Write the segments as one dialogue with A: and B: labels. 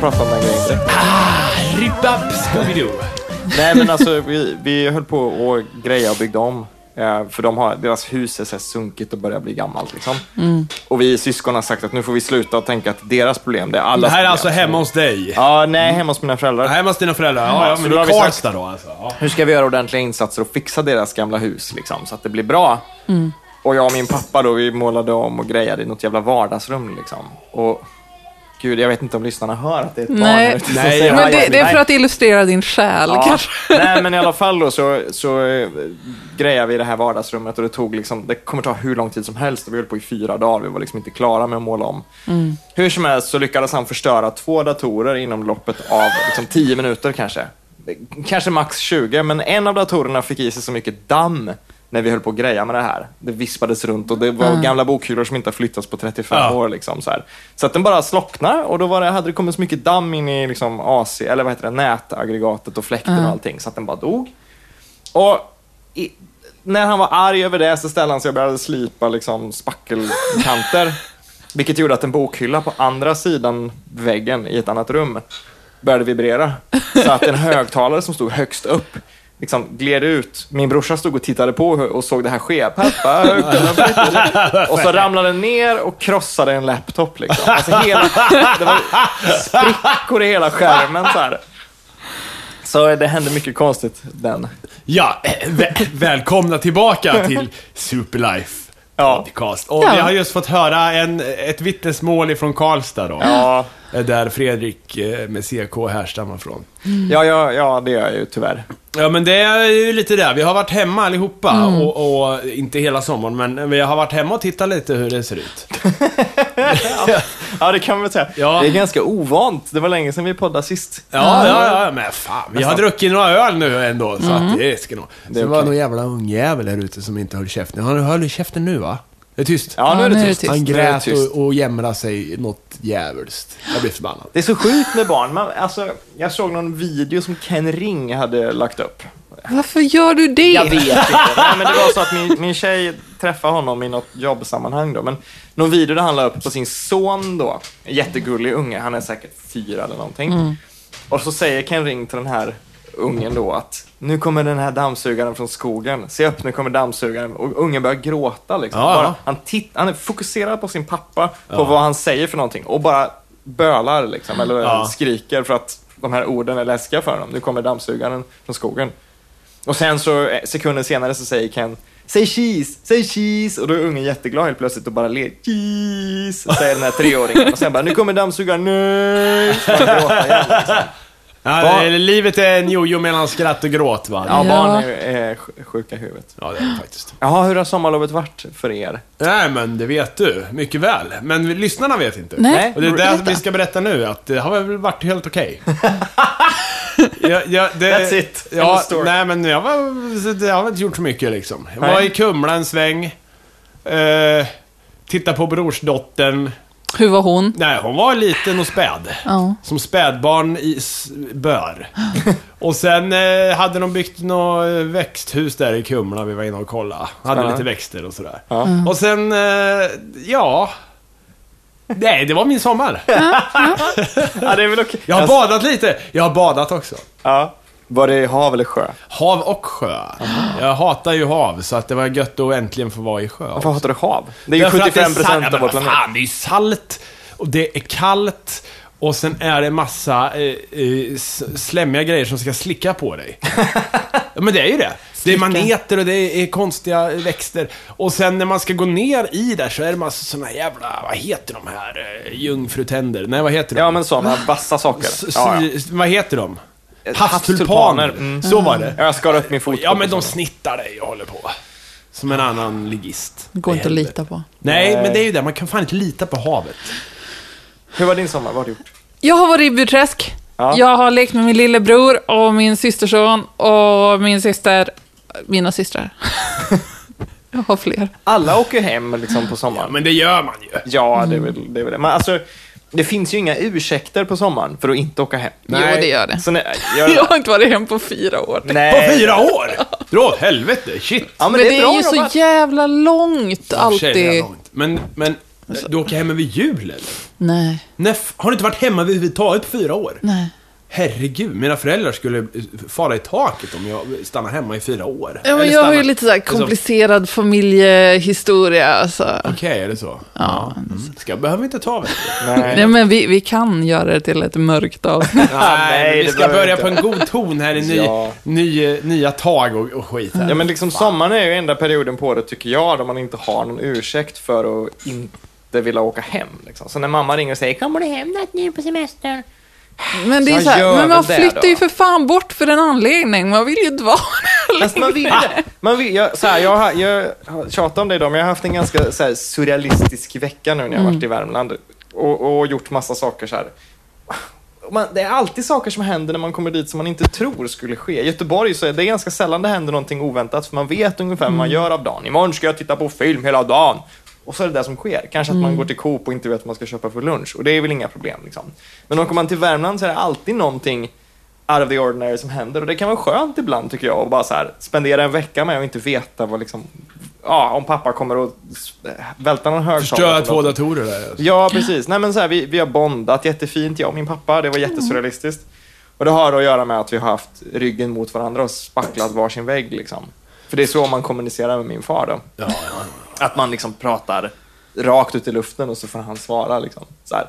A: prata om den grejen.
B: Rip-up Ah, Scooby-Doo.
A: Nej men alltså vi, vi höll på och greja och byggde om. Eh, För de har, deras hus är så här sunkigt och börjar bli gammalt. Liksom. Och vi syskon har sagt att nu får vi sluta att tänka att deras problem, det är
B: Det
A: allas
B: här är
A: problem.
B: alltså hemma hos dig.
A: Ja, nej, hemma hos mina föräldrar.
B: Hemma hos dina föräldrar. Ja, ja
A: så
B: men
A: då har
B: i
A: vi sagt-
B: Karlstad då alltså. Ja.
A: Hur ska vi göra ordentliga insatser och fixa deras gamla hus liksom, så att det blir bra?
C: Mm.
A: Och jag och min pappa då, vi målade om och grejade i något jävla vardagsrum. Liksom. Och gud, jag vet inte om lyssnarna hör att det är ett barn
C: Nej.
A: här ute som
B: Nej,
A: säger, "Aj,
C: typ
B: ja,
C: Men det,
A: aj,
C: det är
A: nej."
C: för att illustrera din själ
A: Ja.
C: kanske.
A: Nej, men i alla fall då så, så eh, grejade vi det här vardagsrummet och det tog liksom, det kommer ta hur lång tid som helst. Vi höll på i fyra dagar, vi var liksom inte klara med att måla om. Hur som helst så lyckades han förstöra två datorer inom loppet av liksom, tio minuter kanske. Kanske max 20, men en av datorerna fick i sig så mycket damm när vi höll på att greja med det här. Det vispades runt och det var gamla bokhyllor som inte har flyttats på 35
B: Ja.
A: år. Liksom, så här. så att den bara slocknade och då var det, hade det kommit så mycket damm in i liksom, AC, eller vad heter det, nätaggregatet och fläkten och allting så att den bara dog. Och i, när han var arg över det så ställde han sig och började slipa liksom, spackelkanter. vilket gjorde att en bokhylla på andra sidan väggen i ett annat rum började vibrera. Så att en högtalare som stod högst upp liksom gled ut. Min brorsa stod och tittade på och såg det här ske. Pappa, högtalaren bryter. Och så ramlade den ner och krossade en laptop. Liksom. Alltså hela, det var sprickor i hela skärmen. Så, här. så det hände mycket konstigt den
B: Ja, eh, vä- välkomna tillbaka till Superlife
A: Ja.
B: Podcast. Och
C: Ja.
B: vi har just fått höra en, ett vittnesmål ifrån Karlstad då.
A: Ja,
B: Där Fredrik eh, med CK härstammar från.
A: ja, ja, ja det gör jag ju tyvärr.
B: Ja men det är ju lite där, vi har varit hemma allihopa
A: Mm.
B: och, och inte hela sommaren men vi har varit hemma och tittat lite hur det ser ut.
A: Ja, det kan man väl säga.
B: Ja.
A: Det är ganska ovant. Det var länge sedan vi poddade sist.
B: Ja, ja, ja, men fan. Vi har druckit några öl nu ändå, så
A: Mm.
B: att det ska nog... Det, var någon jävla ungjävel här ute som inte höll käften. Han höll käften nu va? Det är tyst.
A: Ja, nu är
C: Ja,
A: det eh, tyst.
B: Han
A: Nu är det
B: grät
A: tyst.
B: och, och jämrade sig något djävulskt. Jag blev förbannad.
A: Det är så sjukt med barn. Man, alltså, jag såg någon video som Ken Ring hade lagt upp.
C: Varför gör du det?
A: Jag vet inte. Nej, men det var så att min, min tjej träffade honom i något jobbsammanhang. Då. Men någon video där han la upp på sin son då. En jättegullig unge. Han är säkert fyra eller någonting. Och så säger Ken Ring till den här ungen då att nu kommer den här dammsugaren från skogen. Se upp, nu kommer dammsugaren. Och ungen börjar gråta liksom.
B: Ja, ja.
A: Bara, han, titt, han är fokuserad på sin pappa, på vad han säger för någonting. Och bara bölar liksom, eller
B: Ja.
A: skriker för att de här orden är läskiga för honom. Nu kommer dammsugaren från skogen. Och sen så eh, sekunder senare så säger Ken Säg cheese, säg cheese! Och då är ungen jätteglad helt plötsligt och bara ler. Cheese! Säger den här treåringen. Och sen bara, nu kommer dammsugaren, nej! Så bara gråter igen.
B: Ja,
A: Va?
B: det- livet är en jojo mellan skratt och gråt va?
A: Ja,
C: Ja.
A: barn är, är sj- sjuka i huvudet.
B: Ja, det är det faktiskt.
A: Jaha, hur har sommarlovet varit för er?
B: Nej, men det vet du mycket väl. Men vi- lyssnarna vet inte.
C: Nej.
B: Och det är det
C: Berätta.
B: vi ska berätta nu, att det har väl varit helt okej. ja, ja, det,
A: That's it. End
B: Ja,
A: of story.
B: nej, men jag var, så det har väl inte gjort så mycket liksom. Jag var
A: Nej.
B: i Kumla en sväng. Eh, titta på brorsdottern.
C: Hur var hon?
B: Nej, hon var liten och späd.
C: Ja.
B: Som spädbarn i s- bör. Och sen eh, hade de byggt något eh, växthus där i Kumla, vi var inne och kollade. Hade
A: Ja.
B: lite växter och sådär.
A: Ja.
B: Och sen, eh, ja... Nej, det var min sommar.
A: Ja, det är väl okej. Alltså,
B: Jag har badat lite. Jag har badat också.
A: Ja. Var det i hav eller sjö?
B: Hav och sjö. Jag hatar ju hav, så att det var gött att äntligen få vara i sjö.
A: Varför hatar du hav? Det är ju
B: Därför att det är
A: 75
B: salt-
A: procent av
B: Ja,
A: vår
B: men vad
A: planet.
B: Fan, det är ju salt och det är kallt och sen är det massa eh, eh, s- slemmiga grejer som ska slicka på dig. ja, men det är ju det. Det är maneter och det är konstiga växter. Och sen när man ska gå ner i där så är det massa såna jävla, vad heter de här, eh, jungfrutänder? Nej, vad heter de?
A: Ja, men sådana vassa saker.
B: S-
A: Ja, ja.
B: s- Vad heter de?
A: Eh,
B: Havstulpaner.
A: havstulpaner. Mm.
B: Så var det.
A: Ja, Jag skar upp min liksom. fot.
B: Ja, men de snittar dig och håller på. Som en annan ligist.
C: Det går inte att
B: händer.
C: lita på.
B: Nej,
A: Nej.
B: men det är ju det. Man kan fan inte lita på havet.
A: Hur var din sommar? Vad har du gjort?
C: Jag har varit i Burträsk.
A: Ja.
C: Jag har lekt med min lillebror och min systerson och min syster. Mina systrar. jag har fler.
A: Alla åker hem liksom, på sommaren.
B: Ja, men det gör man ju.
A: Ja, det är väl det. Är väl det. Men alltså, det finns ju inga ursäkter på sommaren för att inte åka hem.
C: Jo, det gör det.
A: Så när,
C: Jag
A: jag,
C: har inte varit hem på fyra år.
A: nej.
B: På fyra år! Dra åt helvete, shit.
A: Ja, men,
C: Men,
A: det är,
C: det är,
A: bra
C: ju så
A: jobbat.
C: jävla långt
B: I och för sig, det är
C: alltid. Alltså-
B: långt. Men, men, du åker hem över jul eller?
C: Nej,
B: Nej, f- har du inte varit hemma överhuvudtaget på fyra år?
C: nej.
B: Herregud, mina föräldrar skulle eh, fara i taket om jag stannar hemma i fyra år.
C: Ja, men
B: Eller
C: jag har ju
B: stannar-
C: lite så här
B: liksom-
C: komplicerad familjehistoria. Alltså.
B: Okej, är det så? Ja. Mm. Ska, behöver vi inte ta vet du.
C: Nej, men vi, vi kan göra det till ett mörkt avsnitt.
A: Nej,
B: Nej, vi
A: det
B: ska
A: behöver
B: börja
A: inte.
B: på en god ton här i ny,
A: Ja.
B: ny, eh, nya tag och, och skit här.
A: Ja, men liksom sommaren är ju enda perioden på året, tycker jag, då man inte har någon ursäkt för att inte vilja åka hem. Liksom. Så när mamma ringer och säger “Kommer du hem något nu på semestern?”
C: Men, det är
A: Jag
C: så här,
A: gör
C: men man
A: väl det
C: flyttar
A: då.
C: ju för fan bort för en anledning. Man vill ju inte vara
A: Fast man vill det. Man vill, jag, så här, jag, har- jag har tjatat om det idag, men jag har haft en ganska så här, surrealistisk vecka nu när jag har varit i Värmland och, och gjort massa saker så här. Man, det är alltid saker som händer när man kommer dit som man inte tror skulle ske. I Göteborg så är det ganska sällan det händer någonting oväntat, för man vet ungefär vad man gör av dagen. Imorgon ska jag titta på film hela dagen. Och så är det det som sker. Kanske att man går till Coop och inte vet vad man ska köpa för lunch. Och det är väl inga problem. Liksom. Men åker man till Värmland så är det alltid någonting out of the ordinary som händer. Och det kan vara skönt ibland tycker jag att bara så här, spendera en vecka med att inte veta vad liksom, ja, om pappa kommer och s- eh, välta någon högtalare.
B: Förstöra
A: eller
B: två
A: något.
B: datorer där. alltså.
A: Ja, precis. Nej, men så här, vi, vi har bondat jättefint, jag och min pappa. Det var
B: Mm.
A: jättesurrealistiskt. Och det har att göra med att vi har haft ryggen mot varandra och spacklat varsin vägg. Liksom. För det är så man kommunicerar med min far. Då.
B: Ja, ja.
A: Att man liksom pratar rakt ut i luften och så får han svara. Liksom. Så, här.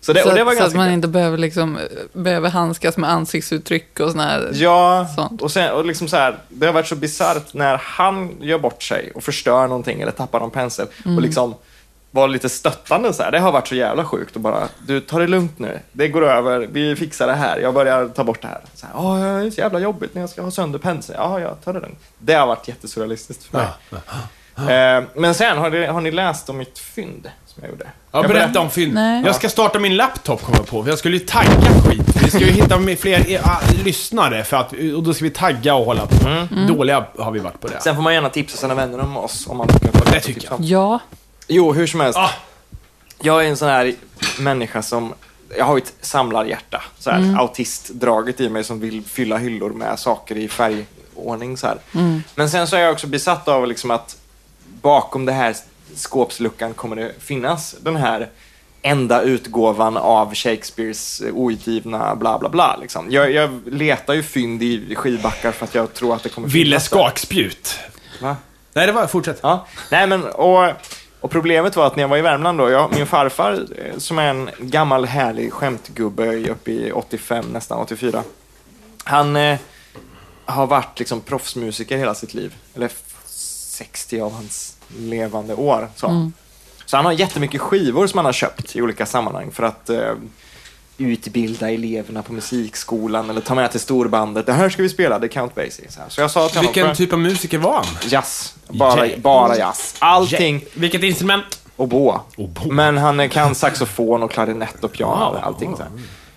A: så det,
C: så,
A: och det var
C: att- så att
A: ganska
C: man
A: kul.
C: inte behöver, liksom, eh, behöver handskas med ansiktsuttryck och såna här...
A: Ja,
C: Sånt.
A: och, sen, och liksom så här, det har varit så bisarrt när han gör bort sig och förstör någonting eller tappar någon pensel och liksom var lite stöttande så här. Det har varit så jävla sjukt och bara, du ta det lugnt nu. Det går över, vi fixar det här. Jag börjar ta bort det här. Så här, "Åh, det är så jävla jobbigt när jag ska ha sönder penseln. Ja, ja, ta det lugnt. Det har varit jättesurrealistiskt för mig. Eh, men sen, har ni, har ni läst om mitt fynd som jag gjorde?
B: Ja,
A: jag
B: berätta om film.
C: Nej.
B: Jag ska starta min laptop kommer jag på, för jag skulle ju tagga skit. Vi ska ju hitta med fler eh, ah, lyssnare, för att, eh, och då ska vi tagga och hålla på. Dåliga har vi varit på det.
A: Mm. Sen får man gärna tipsa sina vänner om oss om man tycker att
B: Det tycker jag.
C: Ja.
A: Jo, hur som helst.
B: Ah,
A: Jag är en sån här människa som... Jag har ju ett samlarhjärta. Så här,
B: Mm.
A: Autistdraget i mig som vill fylla hyllor med saker i färgordning. Så här.
B: Mm.
A: Men sen så är jag också besatt av liksom att bakom det här skåpsluckan kommer det finnas den här enda utgåvan av Shakespeares outgivna bla bla bla. Liksom. Jag, jag letar ju fynd i skivbackar för att jag tror att det kommer
B: Ville
A: finnas. där.
B: skakspjut.
A: Va?
B: Nej, det var... Fortsätt.
A: Ja. Nej, men, och, och problemet var att när jag var i Värmland då, jag, min farfar eh, som är en gammal härlig skämtgubbe i- uppe i 85, nästan 84. Han eh, har varit liksom proffsmusiker hela sitt liv. Eller f- 60 av hans levande år. Så. så han har jättemycket skivor som han har köpt i olika sammanhang för att eh, utbilda eleverna på musikskolan eller ta med till storbandet. Det här ska vi spela, det är Count Basie. Så, här. så jag sa till honom...
B: Vilken typ av musiker var han?
A: Jazz. Bara,
B: Jazz.
A: bara jazz. Allting.
B: Ja, Vilket instrument?
A: Oboa.
B: Oboa.
A: Men han eh, kan saxofon och klarinett och piano.
B: Wow.
A: och Allting så här.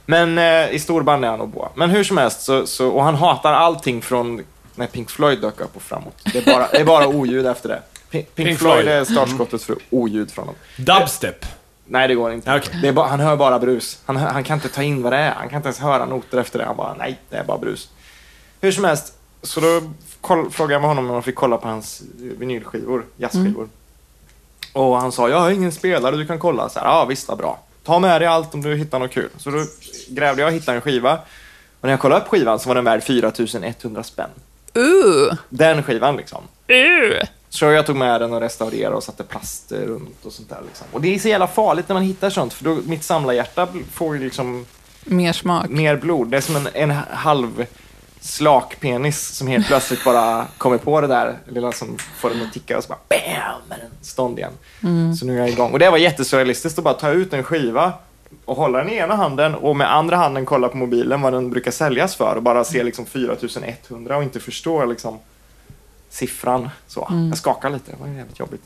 A: Men eh, i storband är han oboa. Men hur som helst, så, så, och han hatar allting från när Pink Floyd dök upp och framåt. Det är bara, det är bara oljud efter det. Pink, Pink,
B: Pink
A: Floyd
B: Floyd.
A: är startskottet för oljud från dem.
B: Dubstep.
A: Nej, det går inte.
B: Okej.
A: Det är bara, han hör bara brus. Han, hör- han kan inte ta in vad det är. Han kan inte ens höra noter efter det. Han bara, nej, det är bara brus. Hur som helst, så då koll, frågade jag med honom om man fick kolla på hans vinylskivor, jazzskivor. Och han sa, jag har ingen spelare, du kan kolla. Så här, ja, visst, vad bra. Ta med dig allt om du hittar något kul. Så då grävde jag och hittade en skiva. Och när jag kollade upp skivan så var den värd 4100 spänn.
C: Uh,
A: Den skivan liksom.
C: uh.
A: Så jag tog med den och restaurerade och satte plast runt och sånt där. Liksom. Och det är så jävla farligt när man hittar sånt, för då mitt samlarhjärta får ju liksom
C: Mer smak.
A: mer blod. Det är som en, en halv slakpenis som helt plötsligt bara kommer på det där lilla som får den att ticka och så bara BAM! är den stånd igen. Så nu är jag igång. Och det var jättesurrealistiskt att bara ta ut en skiva och hålla den i ena handen och med andra handen kolla på mobilen vad den brukar säljas för och bara se liksom 4100 och inte förstå liksom siffran. Så. Jag skakar lite, det var ju jävligt jobbigt.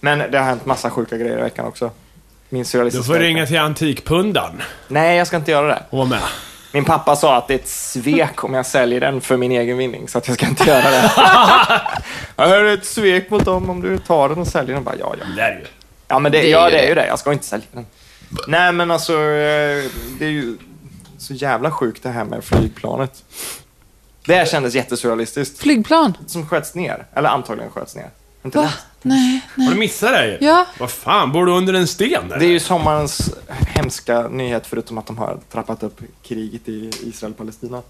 A: Men det har hänt massa sjuka grejer i veckan också. Min
B: Då
A: surrealistiska
B: får du
A: vecka.
B: ringa till Antikpundan
A: Nej, jag ska inte göra det.
B: och vara med.
A: Min pappa sa att det är ett svek om jag säljer den för min egen vinning, så att jag ska inte göra det. Ja, det är ett svek mot dem om du tar den och säljer den. Bara, ja, ja.
B: Det är det ju.
A: Ja, men det,
C: Det är
A: ja,
C: ju
A: det är
C: det.
A: ju det. Jag ska inte sälja den. Nej, men alltså, eh, det är ju så jävla sjukt det här med flygplanet. Det här kändes jättesurrealistiskt.
C: Flygplan.
A: Som sköts ner, eller antagligen sköts ner. Inte
C: Va?
A: det?
C: Nej,
B: Har
C: nej.
B: du missat det här?
C: Ja.
B: Vad fan, bor du under en sten? Eller?
A: Det är ju sommarens hemska nyhet förutom att de har trappat upp kriget i Israel och Palestina.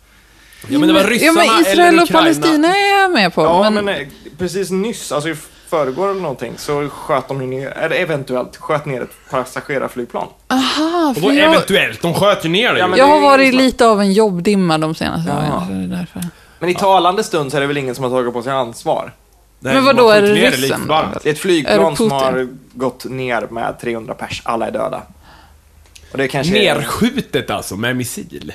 B: Ja, men det var
C: ja,
B: ryssarna
C: men Israel
B: eller
C: och Palestina är jag med på.
A: Ja, men,
C: men,
A: eh, precis nyss, alltså i förrgår eller någonting, så sköt de ju ner, eller eventuellt sköt ner ett passagerarflygplan.
C: aha,
B: Och då
C: ah, för jag,
B: eventuellt, de sköt ju ner dig.
A: Ja, men-
C: jag
A: det är
C: har
A: ju
C: varit
A: ingen-
C: lite av en jobbdimma de senaste
A: Ja.
C: dagarna. så det är därför.
A: Men i talande stund så är det väl ingen som har tagit på sig ansvar.
B: Nej,
C: Men
B: de
C: vadå,
B: har
C: är
B: skjutit
C: det
B: ner dig lite
C: ryssen
B: varmt.
C: då?
A: Det är ett
C: Är
A: flygplan
C: det
A: som
C: Putin?
A: har gått ner med 300 pers, alla är döda. Och det kanske är-
B: Nerskjutet alltså, med missil.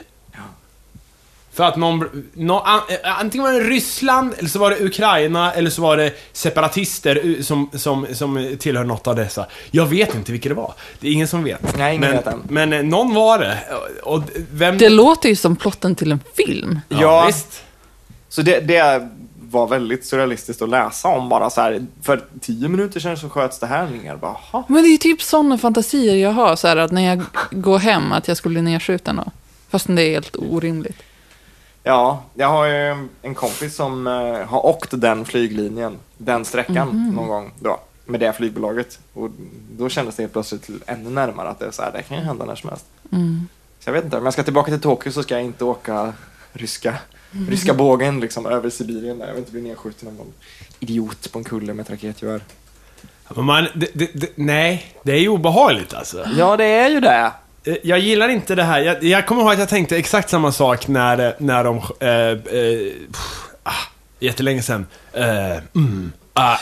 B: För att någon, nå- an- eh, antingen var det Ryssland, eller så var det Ukraina, eller så var det separatister eh, som, som, som tillhör något av dessa. Jag vet inte vilka det var. Det är ingen som vet.
A: Nej, ingen
B: men,
A: vet än.
B: Men eh, någon var det. Och, och vem...
C: Det låter ju som plotten till en film.
B: ja,
A: Ja.
B: visst.
A: Så det, det var väldigt surrealistiskt att läsa om bara så här. För tio minuter sedan så sköts det här ner. Bara, "Jaha."
C: Men det är ju typ sådana fantasier jag har, så här, att när jag går hem, att jag skulle bli nedskjuten då. Fastän det är helt orimligt.
A: Ja, jag har ju en kompis som eh, har åkt den flyglinjen, den sträckan någon gång då, med det flygbolaget. Och då kändes det helt plötsligt ännu närmare att det, är så här, det kan ju hända när som helst. Så jag vet inte, om jag ska tillbaka till Tokyo så ska jag inte åka ryska, ryska bågen liksom, över Sibirien. Där. Jag vill inte bli nedskjuten av någon idiot på en kulle med ett raketgevär.
B: Men Man, det, det, det, nej, det är ju obehagligt alltså.
A: Ja, det är ju det.
B: Eh, Jag gillar inte det här. Jag, jag kommer ihåg att jag tänkte exakt samma sak när, eh, när de... Eh, eh, pff, ah, jättelänge sedan. Eh, mm, ah,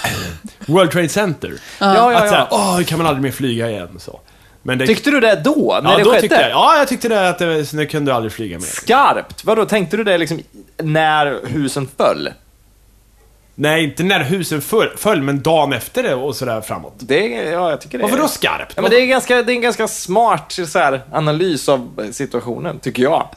B: World Trade Center.
A: Ja, ja,
B: Att såhär,
A: ja.
B: åh, hur kan man aldrig mer flyga igen? Så. Men det,
A: Tyckte du det då, när
B: ja,
A: det
B: då
A: skedde?
B: tyckte jag, ja, jag tyckte det att det, så nu kunde du aldrig flyga mer.
A: Skarpt! Vadå, tänkte du det liksom när husen föll?
B: Nej, inte när husen föll, föll men dagen efter det och sådär framåt.
A: Det, är- ja, jag tycker det
B: Varför
A: är-
B: då skarpt?
A: Eh. Ja, men det, är ganska, det är en ganska smart så här, analys av situationen, tycker jag.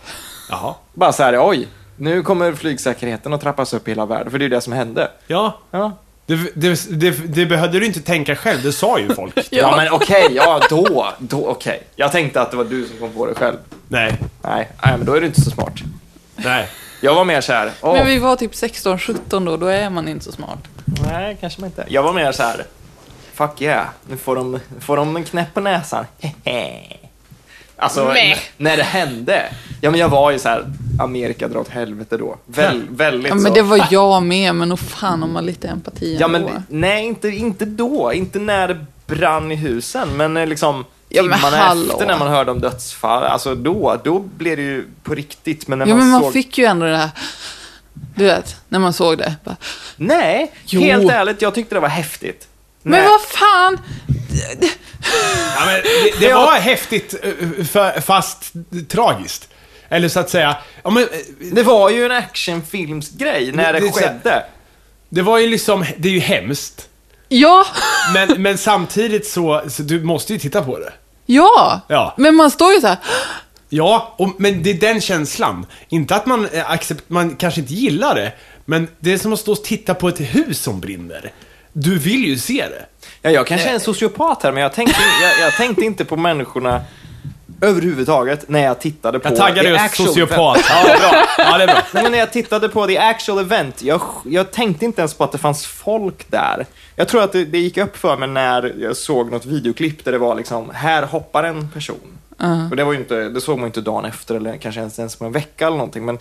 B: Jaha.
A: Bara så här, oj, nu kommer flygsäkerheten att trappas upp i hela världen, för det är ju det som hände.
B: Ja.
A: Ja,
B: Det, det, det, det behövde du inte tänka själv, det sa ju folk.
A: ja. men okej, ja då, då okej. Jag tänkte att det var du som kom på det själv.
B: Nej,
A: Nej, nej men då är du inte så smart.
B: nej.
A: Jag var mer så här, åh,
C: Men vi var typ 16-17 då, då är man inte så smart.
A: nej kanske man inte. Jag var mer så här, fuck yeah, nu får de, får de en knäpp på näsan. Hehe. Alltså,
C: Nej.
A: n- när det hände. Ja, men jag var ju så här, Amerika drar åt helvete då. Väl, väldigt
C: Ja,
A: så.
C: men det var jag med, men nog fan om man lite empati
A: Ja,
C: ändå.
A: men nej, inte, inte då. Inte när det brann i husen, men eh, liksom
C: Ja, men
A: timmarna
C: hallå.
A: efter när man hörde om dödsfall. Alltså då, då blev det ju på riktigt. Men när
C: ja,
A: man,
C: men man
A: såg...
C: fick ju ändå det här... Du vet, när man såg det. Bara,
A: Nej,
C: Jo.
A: helt ärligt, jag tyckte det var häftigt.
C: men
A: Nej.
C: vad fan!
B: Ja, men det, det var häftigt, eh, för, fast tragiskt. Eller så att säga, ja, men, eh,
A: Det var ju en actionfilmsgrej när det,
B: Det- det är så-
A: skedde.
B: det var ju liksom, det är ju hemskt.
C: Ja,
B: Men, men samtidigt så, så, du måste ju titta på det.
C: ja!
B: Ja.
C: Men man står ju så här...
B: Ja, och, men det är den känslan. Inte att man, eh, accept, man kanske inte gillar det, men det är som att stå och titta på ett hus som brinner. Du vill ju se det.
A: Ja, jag kanske är en sociopat här, men jag tänkte, jag, jag tänkte inte på människorna överhuvudtaget när jag tittade på
B: Jag taggar
A: the
B: dig
A: actual
B: sociopat.
A: event.
B: Ja, bra. Ja, det är bra.
A: Nej, men när jag tittade på the actual event, jag, jag tänkte inte ens på att det fanns folk där. Jag tror att det, det gick upp för mig när jag såg något videoklipp där det var liksom, här hoppar en person. Och det, var ju inte, det såg man ju inte dagen efter eller kanske ens, ens på en vecka eller någonting. Men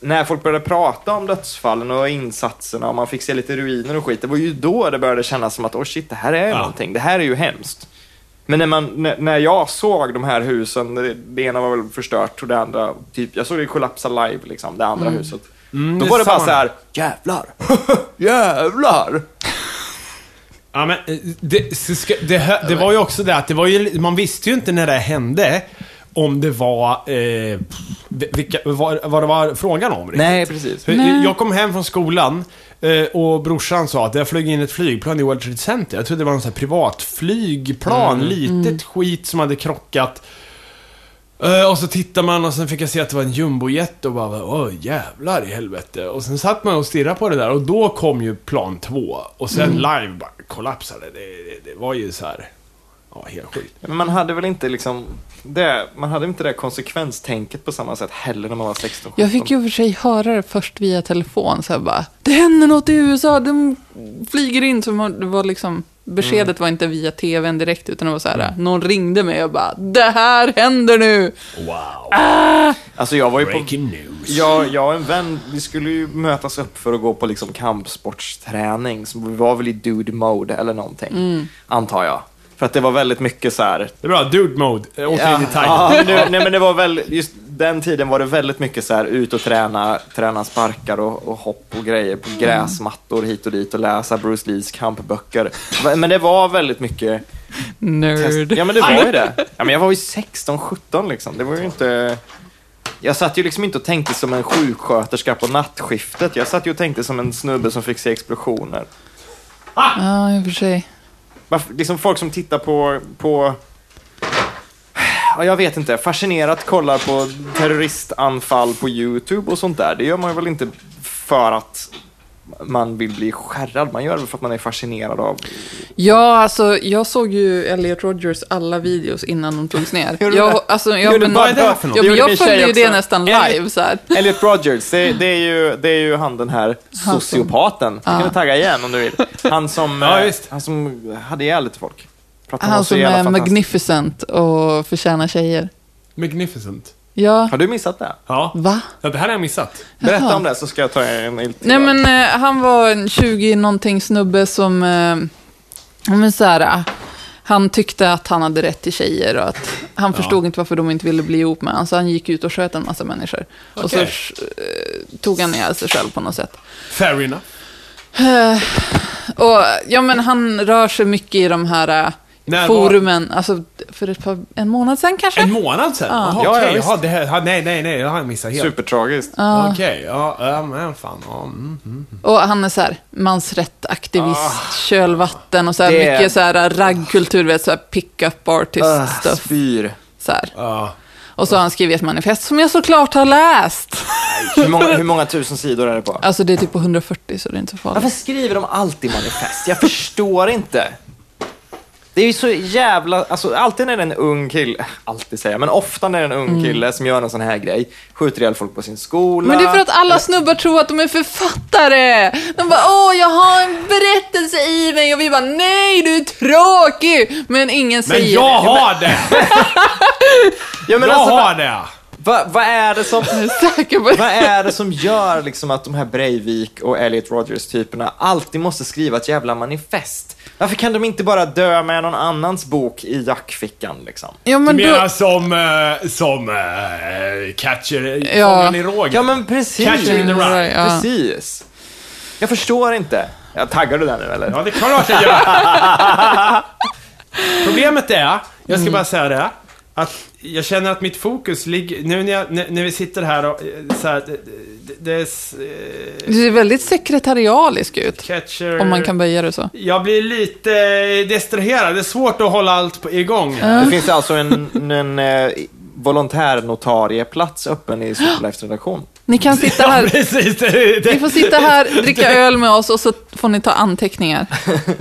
A: när folk började prata om dödsfallen och insatserna och man fick se lite ruiner och skit, det var ju då det började kännas som att oh shit, det här är
B: Ja.
A: någonting, det här är ju hemskt. Men när, man, när- när jag såg de här husen, det, det ena var väl förstört och det andra, typ, jag såg det kollapsa live, liksom, det andra huset. då
B: Mm. det
A: var det bara
B: samma.
A: så här, jävlar, jävlar.
B: Ja, men eh, det, så ska, det, hö- det var ju också det att det var ju, man visste ju inte när det hände om det var... Eh, vilka, vad, vad det var frågan om riktigt.
A: Nej, precis.
B: För Jag kom hem från skolan eh, och brorsan sa att jag flög in ett flygplan i World Trade Center. Jag trodde det var något privatflygplan,
A: Mm.
B: litet skit som hade krockat. Eh, Och så tittar man och sen fick jag se att det var en jumbojet och bara åh jävlar i helvete. Och sen satt man och stirrade på det där och då
A: Mm.
B: kom ju plan två. Och sen live bara kollapsade. Det, det, det var ju så här. Ja, helt sjukt.
A: Men man hade väl inte liksom det, man hade inte det konsekvenstänket på samma sätt heller när man var 16
C: Jag fick
A: 17.
C: ju för sig höra det först via telefon. Så här bara, det händer något i USA, de flyger in. Så man, det var liksom, beskedet
A: Mm.
C: var inte via tvn direkt, utan det var så här, någon ringde mig och bara, det här händer nu.
B: Wow.
A: Alltså jag var ju på...
B: Breaking news.
A: Jag, jag och en vän, vi skulle ju mötas upp för att gå på liksom kampsportsträning. Så vi var väl i dude mode eller någonting, antar jag. För att det var väldigt mycket så här...
B: Det är bra. Dude mode. Eh, Återigen i Thailand.
A: ja, nu, nej, men det var väl, just den tiden var det väldigt mycket så här ut och träna, träna sparkar och, och hopp och grejer på gräsmattor hit och dit och läsa Bruce Lees kampböcker. Men det var väldigt mycket
C: Nerd.
A: Test- Ja men det var ju det. Ja, men jag var ju 16, 17 liksom. Det var ju inte... Jag satt ju liksom inte och tänkte som en sjuksköterska på nattskiftet. Jag satt ju och tänkte som en snubbe som fick se explosioner.
C: Ja, i och för sig.
A: Varför, liksom folk som tittar på... på ja, jag vet inte. Fascinerat kollar på terroristanfall på YouTube och sånt där. Det gör man ju väl inte för att man vill bli skärrad. Man gör det för att man är fascinerad av...
C: Ja, alltså jag såg ju Elliot Rodgers alla videos innan de togs ner.
A: Gjorde du
C: jag,
A: det?
C: alltså, jag,
A: Gjorde
C: men,
A: du bara det för något?
C: ja,
A: Det
C: men
A: gjorde
C: jag
A: min
C: följde
A: tjej
C: ju det
A: också.
C: nästan
A: Elliot-
C: live så här.
A: Elliot Rodgers, det, det, är ju, det är ju han den här
C: Han som-
A: sociopaten. Jag kan du tagga igen om du vill. Han som,
B: Ja,
A: eh,
B: visst.
A: han som hade ihjäl lite folk. Pratar om
C: Han
A: så
C: som
A: jävla
C: är
A: fantastiskt.
C: Alltså, magnificent och förtjänar tjejer.
B: Magnificent.
C: Ja,
A: Har du missat det?
B: Ja.
C: va?
B: ja. Det här har jag missat.
A: Berätta
C: Jaha.
A: om det så ska jag ta en en till.
C: Nej men eh, han var en 20-någonting snubbe som, eh, ja, men så här, eh, han tyckte att han hade rätt till tjejer och att han förstod inte varför de inte ville bli ihop med honom. Så han gick ut och sköt en massa människor. Och så
B: Okej.
C: eh, tog han ihjäl sig själv på något sätt.
B: Fair enough.
C: Och, ja, men han rör sig mycket i de här eh,
B: När var-
C: forumen. Alltså, för ett par, en månad sedan kanske?
B: En månad sen? Jaha,
A: Ja, ja,
B: okej.
A: visst.
B: Jaha, det här, ha, nej, nej, nej. Det har jag missat helt.
A: Supertragiskt.
C: Ah,
B: Okej, ja, ja, men fan. Ja, mm, mm.
C: Och han är så här, mansrättaktivist,
B: Ah.
C: kölvatten och så här,
A: Det är-
C: mycket så här raggkultur, vet, så här pick-up artist
A: Ah,
C: stuff.
A: spyr.
C: Så här.
B: Ja.
C: Och så har han skrivit ett manifest som jag såklart har läst.
A: Hur många, hur många tusen sidor är det på?
C: Alltså det är typ på 140 så det är inte så farligt.
A: Varför skriver de alltid manifest? Jag förstår inte. Det är ju så jävla... Alltså, alltid när det är en ung kille... Alltid säger jag, men ofta när det är en ung kille som gör en sån här grej, skjuter ihjäl folk på sin skola.
C: Mm. Men det är för att alla snubbar tror att de är författare. De bara åh, jag har en berättelse i mig och vi bara nej, du är tråkig. Men ingen
B: Men
C: säger
B: jag har det!
A: Ja, men
B: Jag
A: alltså,
B: har det!
A: Vad vad är det som...
C: det. Jag är säker på
A: Vad
C: det.
A: är det som gör liksom att de här Breivik och Elliot Rodgers-typerna alltid måste skriva ett jävla manifest? Varför kan de inte bara dö med någon annans bok i jackfickan? Liksom?
C: Ja,
B: Du
C: men
B: menar
C: då,
B: som, eh, som eh, catcher,
C: Ja.
B: fången i rågen?
A: Ja, men precis.
B: Catcher in the rye.
C: Mm, Ja.
A: Precis. Jag förstår inte. Ja, taggar du den nu eller?
B: Ja, det är klart jag gör. Problemet är, jag ska bara säga det, att jag känner att mitt fokus ligger, nu när, jag, när, när vi sitter här och eh, så här, det, det, det är s- eh,
C: du ser väldigt sekretarialisk ut.
B: catcher...
C: Om man kan böja det så.
B: Jag blir lite eh, distraherad, det är svårt att hålla allt på, igång.
A: Det finns alltså en, en eh, volontärnotarieplats öppen i Superlifes redaktion.
C: Ni kan sitta
B: Ja,
C: här,
B: precis. Det,
C: ni får
B: det,
C: sitta här, dricka öl med oss och så får ni ta anteckningar.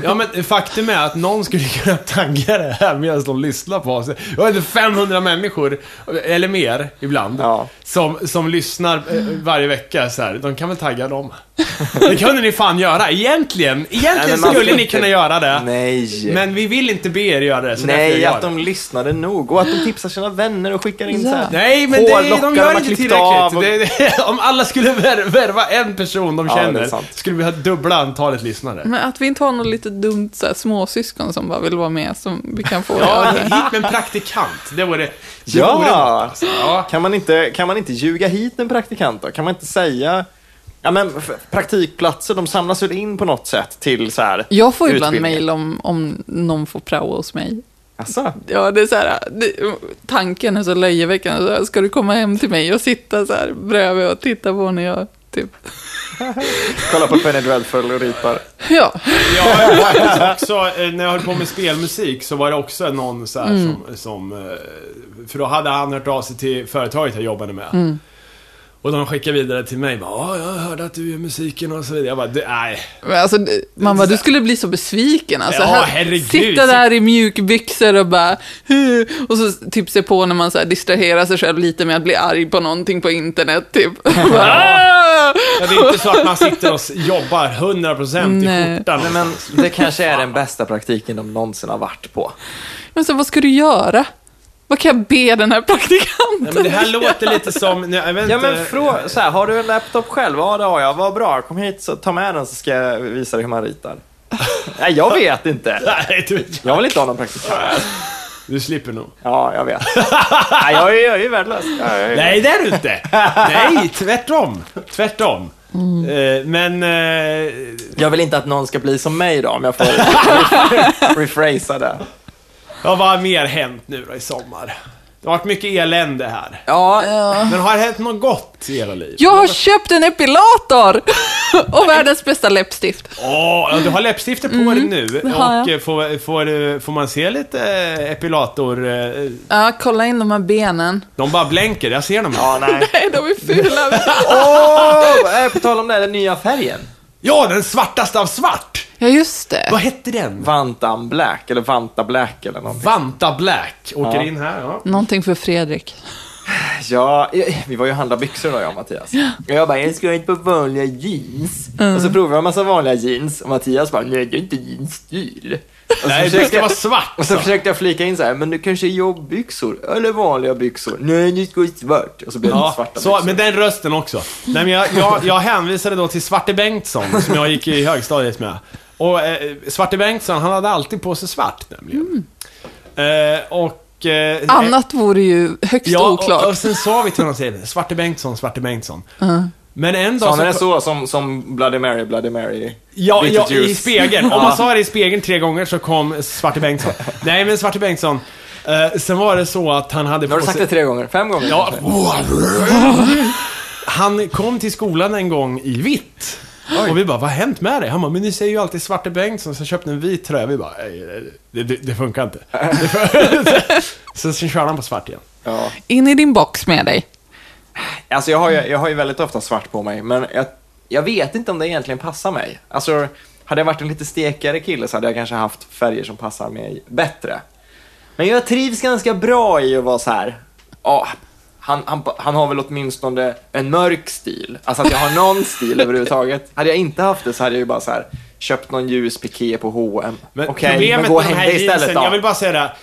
B: ja, men faktum är att någon skulle kunna tagga det här medan de lyssnar på oss. Jag vet inte, 500 människor, eller mer ibland,
A: Ja.
B: som, som lyssnar eh, varje vecka så här. De kan väl tagga dem. Det kunde ni fan göra. Egentligen,
A: Nej,
B: egentligen
A: men man
B: skulle
A: får
B: ni
A: inte-
B: kunna göra det.
A: Nej.
B: Men vi vill inte be er göra det, så därför
A: Nej,
B: gör
A: att de lyssnade nog och att de tipsar sina vänner och skickar in
C: Ja.
A: så här.
B: Nej, men det,
A: hårlockar
B: de gör
A: har
B: inte
A: klippt
B: tillräckligt.
A: av och-
B: Det, det, om alla skulle vär- värva en person de
A: Ja, det är
B: känner,
A: sant.
B: skulle vi ha dubbla antalet lyssnare.
C: Men att vi inte har något lite dumt så här, småsyskon som bara vill vara med, som vi kan få
B: Ja,
C: göra det.
B: hit med en praktikant. Det vore... det
A: Ja.
B: vore något, alltså. ja.
A: Kan man, inte, kan man inte ljuga hit en praktikant då? Kan man inte säga... Ja, men f- praktikplatser, de samlas väl in på något sätt till så här...
C: Jag får ju ibland
A: utbildning. Alltså,
C: mejl om, om någon får prao hos mig.
A: Asså?
C: Ja, det är så här, det, tanken är så löjeväckande. Så här, ska du komma hem till mig och sitta så här bredvid och titta på när jag typ...
A: Kolla på Penny Dreadful och ripar.
C: Ja,
B: Ja, jag har faktiskt också, eh, när jag höll på med spelmusik så var det också någon så här som, som... eh, För då hade han hört av sig till företaget jag jobbade med. Och de skickade vidare till mig. Bara, "Ja, jag hörde att du gör musiken och så vidare. Jag bara, "Du, nej.
C: Men Alltså, det- man bara, du skulle bli så besviken. Alltså,
B: Ja,
C: Här-
B: herregud.
C: Sitta där i mjukbyxor och bara... "Huh." Och så typ se på när man så här distraherar sig själv lite med att bli arg på någonting på internet. Typ. Och bara, "Ah!"
B: Ja, Det är inte så att man sitter och s- jobbar 100% i
C: Nej.
B: skjortan. liksom.
A: Nej, men det kanske är den bästa praktiken de någonsin har varit på.
C: Men så vad ska du göra? Vad kan jag be den här
B: Nej,
C: praktikanten?
B: men det här låter lite som... nej, Jag vet
A: Ja
B: inte.
A: men frå- så här, har du en laptop själv? Ja det har jag. Vad bra, kom hit så ta med den så ska jag visa dig hur man ritar. Nej, jag vet inte.
B: Nej, du,
A: Jag vill inte ha någon praktikant.
B: du slipper nog.
A: Ja, jag vet. Nej, jag är jag är ju värdelös. Jag är-
B: Nej, det är du inte! Nej, tvärtom! Tvärtom. Eh, Men... eh,
A: Jag vill inte att någon ska bli som mig då, om jag får rephrasa det.
B: Ja, vad har mer hänt nu då i sommar? Det har varit mycket elände här.
A: Ja,
B: Men har det hänt något gott i era liv?
C: Jag har köpt en epilator! Och världens bästa läppstift.
B: Åh, ja, du har läppstifter på
A: Mm,
B: dig nu.
C: har
B: Och
C: jag.
B: eh, får, får, eh, får man se lite eh, epilator... eh,
C: Ja, kolla in de här benen.
B: De bara blänker, jag ser dem här.
A: ja nej.
C: Nej, de är fula.
A: Åh, eh, på tal om det, den nya färgen.
B: Ja, den svartaste av svart!
C: Ja, just det.
B: Vad hette den?
A: Vantan Black, eller Vanta Black eller någonting.
B: Vanta Black. Åker
A: Ja.
B: in här, ja.
C: Någonting för Fredrik.
A: Ja, eh, vi var ju och handlade byxor då jag och Mattias. Och jag bara, jag ska ha ett par vanliga jeans. Och så provade jag en massa vanliga jeans och Mattias bara, nej det är inte din stil. Och så
B: Nej, det
A: försökte
B: ska
A: jag-
B: vara svart. alltså.
A: Och så försökte jag flika in så här, men du kanske är jobbbyxor eller vanliga byxor. Nej, du ska ha svart. Och så blev det
B: Ja,
A: svarta
B: så,
A: byxor.
B: med den rösten också. Nej, men jag, jag, jag hänvisade då till Svarte Bengtsson, som jag gick i högstadiet med. Och eh, Svarte Bengtsson, han hade alltid på sig svart nämligen. Eh, och... Eh,
C: Annat vore ju högst
B: ja,
C: oklart.
B: Och, och sen sa vi till honom sen, Svarte Bengtsson, Svarte Bengtsson. Men en dag
A: Sa ni det
B: så-
A: så som, som Bloody Mary, Bloody Mary?
B: Ja,
A: Little
B: ja i
A: Juice?
B: spegeln. Om man sa det i spegeln tre gånger så kom Svarte Bengtsson. Nej, men Svarte Bengtsson. Eh, sen var det så att han hade
A: Nu har du sagt det tre gånger, fem gånger
B: Ja.
A: kanske.
B: Han kom till skolan en gång i vitt. Och vi bara, vad har hänt med dig? Han bara, men ni säger ju alltid Svarte Bengtsson, så jag köpte en vit tröja. Vi bara, "Nej, det, det, det funkar inte. Det funkar- så sen körde han på svart igen.
A: Ja.
C: In i din box med dig.
A: Alltså jag har, ju, jag har ju väldigt ofta svart på mig, men jag, jag vet inte om det egentligen passar mig. Alltså, hade jag varit en lite stekigare kille så hade jag kanske haft färger som passar mig bättre. Men jag trivs ganska bra i att vara så här. Ja, han, han, han har väl åtminstone en mörk stil. Alltså att jag har någon stil överhuvudtaget. Hade jag inte haft det så hade jag ju bara så här köpt någon ljus piké på H&M.
B: Men
A: Okej, men
B: problemet
A: gå
B: med den
A: hem
B: här
A: det istället
B: jeansen,
A: då.
B: jag vill bara säga det. här.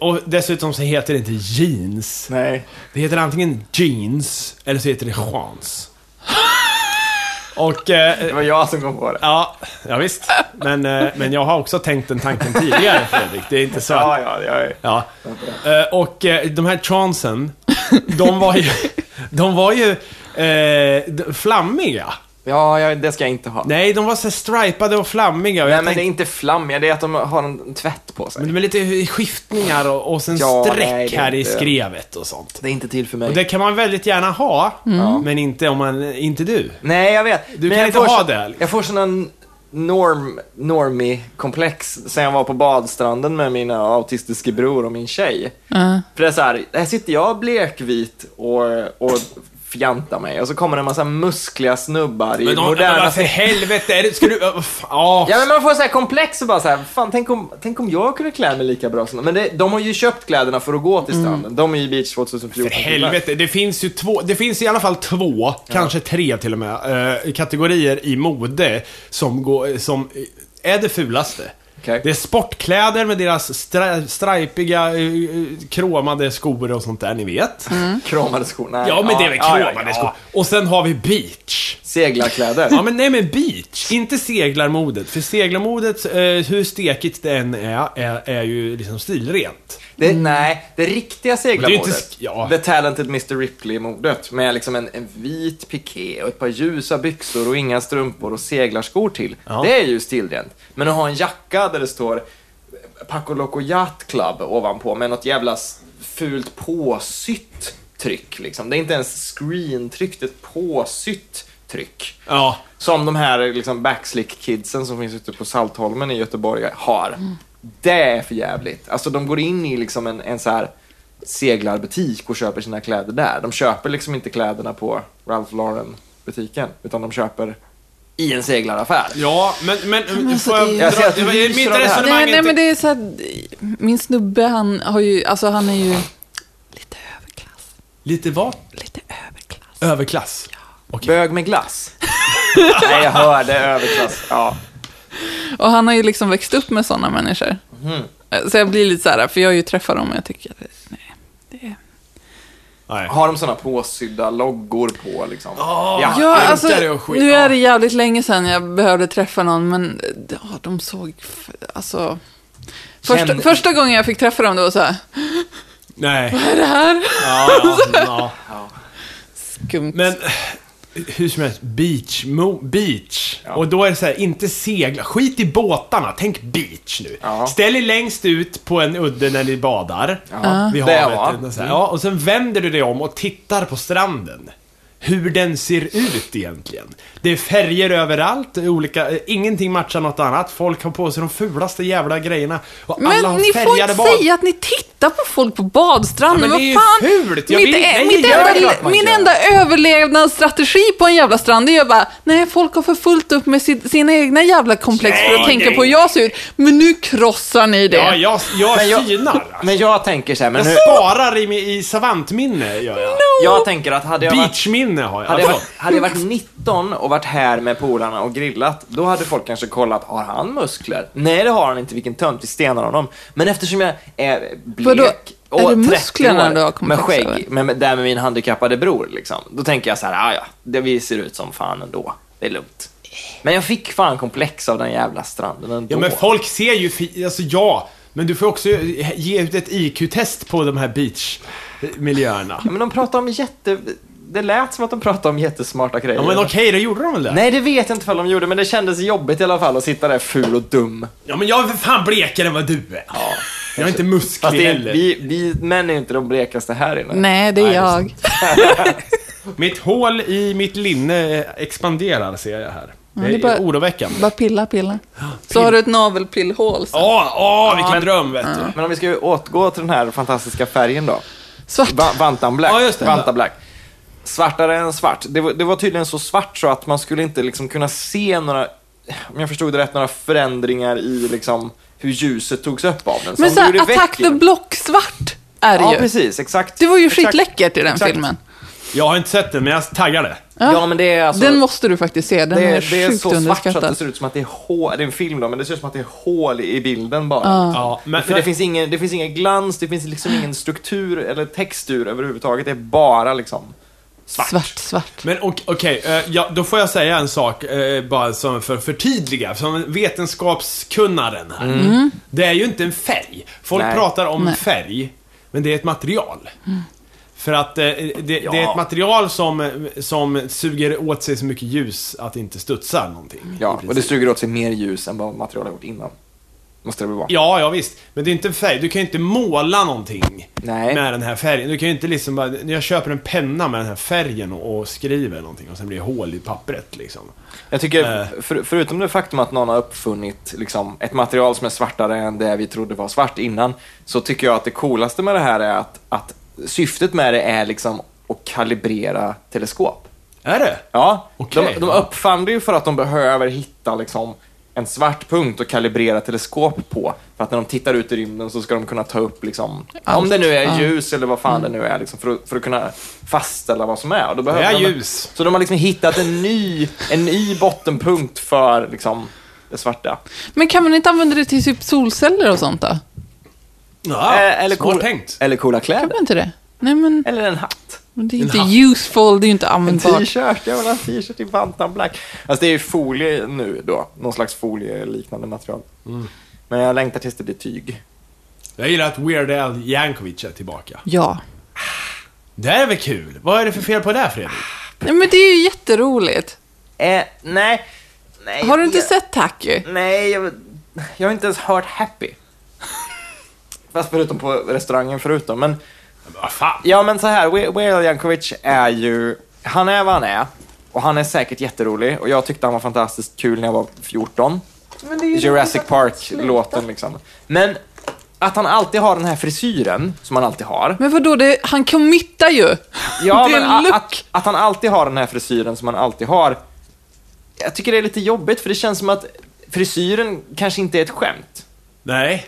B: Och dessutom så heter det inte jeans.
A: Nej.
B: Det heter antingen jeans, eller så heter det chans. Och... Eh,
A: Det var jag som kom på det.
B: ja, ja, visst. Men, eh, men jag har också tänkt den tanken tidigare, Fredrik. Det är inte så att...
A: Ja, ja, jag är...
B: Ja. Eh, och eh, de här chansen, de var ju, de var ju eh, d- flammiga.
A: ja jag, det ska jag inte ha.
B: Nej, de var så här stripade och flammiga. Och
A: Nej,
B: jag
A: men det är
B: tänkte,
A: inte flammiga, det är att de har en tvätt på sig.
B: men med lite skiftningar och, och sen
A: Ja,
B: streck
A: nej, det är
B: här i
A: inte-
B: skrevet och sånt.
A: Det är inte till för mig.
B: Och det kan man väldigt gärna ha,
A: Ja.
B: men inte om man, inte du.
A: Nej, jag vet.
B: Du
A: Men
B: kan
A: jag
B: inte
A: får
B: ha
A: så-
B: det, liksom.
A: Jag får sådana norm, normie-komplex sen jag var på badstranden med mina autistiska bror och min tjej. För det är så här, här sitter jag blekvit och, och fjantar mig och så kommer det en massa muskliga snubbar i
B: Men de,
A: moderna...
B: men alltså- för helvete, är det, ska du... vad fan, Ja,
A: Ja men man får så här komplex och bara så här, fan tänk om, tänk om jag kunde klä mig lika bra som de. Men det, de har ju köpt kläderna för att gå till stranden. De är ju beach 2014
B: Mm. För helvete, det finns ju två, det finns i alla fall två, kanske tre till och med, eh, kategorier i mode som, går, som eh, är det fulaste.
A: Okej.
B: Det är sportkläder med deras stra, stripiga, eh, eh, kromade skor och sånt där, ni vet.
A: Kramade skor? Nej.
B: Mm. Ja, men det är väl kromade
A: ja, ja.
B: skor. Och sen har vi beach.
A: Seglarkläder.
B: Ja, men nej men beach. Inte seglarmodet, för seglarmodet, eh, hur stekigt det än är, är, är ju liksom stilrent.
A: Det, Nej, det riktiga
B: Det är inte
A: seglarmodet.
B: sk- ja.
A: The Talented Mr Ripley-modet. Med liksom en, en vit piké och ett par ljusa byxor och inga strumpor och seglarskor till.
B: Ja.
A: Det är ju stilrent. Men att ha en jacka där det står Paco Loco Yacht Club ovanpå med något jävla s- fult påsytt tryck. Liksom. Det är inte ens screentryck, det är ett påsytt tryck.
B: Ja.
A: Som de här liksom, backslick-kidsen som finns ute på Saltholmen i Göteborg har. Det är för jävligt. Alltså de går in i liksom en, en så här seglarbutik och köper sina kläder där. De köper liksom inte kläderna på Ralph Lauren-butiken, utan de köper i en seglaraffär.
B: Ja, men... men,
C: men alltså,
B: får jag,
C: det är-
A: Jag ser att du
B: det-
A: ryser
B: mitt
A: av det här.
B: resonemang
C: Nej, nej,
B: är
C: men
B: inte...
C: det är så att min snubbe, han har ju, alltså han är ju lite överklass.
B: Lite vad?
C: Lite överklass.
B: Överklass.
A: Bög med glass. Nej, jag hörde överklass. Ja.
C: Och han har ju liksom växt upp med sådana människor.
B: Mhm.
C: Så jag blir lite så här, för jag har ju träffat dem och jag tycker att, nej, det är...
B: Nej.
A: Har de såna påsydda loggor på liksom? ja.
C: Ja,
B: Ankare
C: alltså,
B: och skit,
C: nu
B: ja.
C: är det jävligt länge sedan jag behövde träffa någon, men ja, de såg, f- alltså... Första,
A: Känn-
C: första gången jag fick träffa dem, det var så här,
B: Nej.
C: är det här?
B: Ja, ja, ja.
C: Skumt.
B: Men eh, hur som helst, beach. Mo, beach.
A: Ja.
B: Och då är det så här, inte segla. Skit i båtarna. Tänk beach nu.
A: Ja.
B: Ställ er längst ut på en udde när ni badar.
A: Ja.
B: Vid
A: Det,
B: havet.
A: va? Mm.
B: och så här. Ja, och sen vänder du dig om och tittar på stranden. Hur den ser ut egentligen. Det är färger överallt, olika, eh, ingenting matchar något annat. Folk har på sig de fulaste jävla grejerna. Och alla
C: Men
B: har
C: ni får
B: färgade
C: inte
B: bad.
C: säga att ni tittar på folk på badstranden.
B: Ja, men
C: vad
B: det är ju
C: fan?
B: fult. Jag
C: mitt,
B: vill-
C: e-
B: nej,
C: mitt
B: det gör
A: jag
C: enda,
A: att man
C: min
A: gör.
C: enda överlevnadsstrategi på en jävla strand det är ju bara, nej folk har för fullt upp med sitt, sina egna jävla komplex för
B: Nej,
C: att tänka
B: nej.
C: på hur jag ser ut. Men nu krossar ni det.
B: Ja, jag, jag,
A: Men jag-
B: synar. alltså.
A: Men jag tänker så här, men
B: Jag
A: hur,
B: sparar i, i savantminne, gör jag.
A: jag tänker att hade jag varit
B: Beachminne har jag.
A: Hade jag,
B: Alltså,
A: varit- hade jag varit 19 och varit här med polarna och grillat, då hade folk kanske kollat, har han muskler? Nej, det har han inte, vilken tönt, vi stenar honom. Men eftersom jag är blek
C: Vadå?
A: och
C: Är det
A: 30
C: musklerna
A: år
C: du har
A: med
C: komplex över?
A: skägg, med, med, där med min handikappade bror, liksom, då tänker jag så här, "Ah, ja, det vi ser ut som fan ändå, det är lugnt. Men jag fick fan komplex av den jävla stranden ändå.
B: ja, men folk ser ju... fi- Alltså, ja. Men du får också ge ut ett IQ-test på de här beachmiljöerna.
A: Ja, men de pratar om jätte... Det lät som att de pratade om jättesmarta grejer.
B: Ja, men okej, då gjorde de väl det?
A: Nej, det vet jag inte om de gjorde, men det kändes jobbigt i alla fall att sitta där ful och dum.
B: Ja, men jag är för fan blekare än vad du är. jag är inte
A: Fast
B: musklig
A: det är,
B: heller.
A: vi, vi män är inte de blekaste här inne.
C: Nej, det är
B: Nej, det är
C: jag.
B: Mitt hål i mitt linne expanderar, ser jag här. Det
C: det
B: är
C: är bara-
B: oroväckande.
C: Bara pilla, pilla. Så har du ett navelpillhål. Så.
B: Åh, åh, vilken dröm, vet du.
A: Men om vi ska ju återgå till den här fantastiska färgen då.
C: Svart.
A: Va- Vantan Black.
B: Ja, just det.
A: Vantan Black. Svartare än svart. Det var, det var tydligen så svart så att man skulle inte liksom kunna se några, om jag förstod det rätt, några förändringar i liksom hur ljuset togs upp av den. Så
C: Men
A: om
C: så
A: du
C: här,
A: gjorde väck
C: Attack
A: i
C: the
A: den-
C: Block-svart är det
A: Ja,
C: ju.
A: precis. Exakt.
C: Det var ju
A: Exakt.
C: skitläckert i den
A: Exakt.
C: filmen.
B: Jag har inte sett den, men jag taggar det.
A: Ja. men det är alltså...
C: den måste du faktiskt se, den
A: det,
C: är
A: är,
C: sjukt
A: det är så svart så
C: underskattad.
A: att det ser ut som att det är hål, det är en film då, men det ser ut som att det är hål i bilden bara.
B: Ja, men,
A: För det finns, ingen, det finns ingen glans, det finns liksom ingen struktur eller textur överhuvudtaget. Det är bara liksom svart.
C: Svart, svart.
B: Men ok- okej, eh, ja, då får jag säga en sak eh, bara som för att förtydliga, som vetenskapskunnaren här. Det är ju inte en färg. Folk
A: Mm. Nej.
B: pratar om
C: Nej.
B: färg, men det är ett material. För att eh, det, det är
A: Ja.
B: ett material som, eh, som suger åt sig så mycket ljus att det inte studsar någonting. i
A: Ja,
B: princip.
A: och det suger åt sig mer ljus än vad materialet har gjort innan. Måste det väl vara.
B: Ja, ja visst. Men det är inte en färg. Du kan ju inte måla någonting
A: Nej.
B: med den här färgen. Du kan ju inte liksom bara, jag köper en penna med den här färgen och, och skriver någonting och sen blir det hål i pappret liksom.
A: Jag tycker,
B: Eh.
A: för, förutom det faktum att någon har uppfunnit liksom, ett material som är svartare än det vi trodde var svart innan, så tycker jag att det coolaste med det här är att, att syftet med det är liksom att kalibrera teleskop.
B: Är det?
A: Ja,
B: Okej.
A: de, de uppfann det ju för att de behöver hitta liksom, en svart punkt att kalibrera teleskop på. För att när de tittar ut i rymden så ska de kunna ta upp, liksom, om
C: Allt.
A: det nu är
C: Ja.
A: ljus eller vad fan det nu är, liksom, för, att, för att kunna fastställa vad som är. Och då behöver
B: är
A: de,
B: ljus.
A: Så de har liksom hittat en ny, en ny bottenpunkt för liksom, det svarta.
C: Men kan man inte använda det till typ solceller och sånt då?
B: Ja,
A: Eh,
B: eller smart
A: cool-
B: tänkt.
A: eller coola
C: Kan
A: kläder.
C: man inte det? Nej, men
A: Eller en hatt.
C: men det är inte
B: hatt.
C: useful, det är ju inte
A: En
C: användbart.
A: t-shirt. Jag vill ha en t-shirt i Bantam Black. Alltså det är ju folie nu då. Någon slags folieliknande material.
C: Mm.
A: Men jag längtar tills det blir tyg.
B: Jag gillar att Weird Al Yankovic är tillbaka.
C: Ja.
B: Det här är väl kul? Vad är det för fel på det här, Fredrik?
A: Ah,
C: Nej, men det är ju jätteroligt.
A: Eh, nej. nej.
C: Har du inte
A: jag,
C: sett Tacky?
A: Nej, jag, jag har inte ens hört Happy. Fast förutom på restaurangen förutom. Men
B: Men Vad fan?
A: Ja, men så här. We- Wael Jankovic är ju... Han är vad han är. Och han är säkert jätterolig. Och jag tyckte han var fantastiskt kul när jag var 14. Jurassic Park-låten liksom. Men att han alltid har den här frisyren som han alltid har.
C: Men vadå, det, han committar ju.
A: Ja,
C: det är
A: men
C: en
A: a-
C: look.
A: att, att han alltid har den här frisyren som han alltid har. Jag tycker det är lite jobbigt för det känns som att frisyren kanske inte är ett skämt.
B: Nej.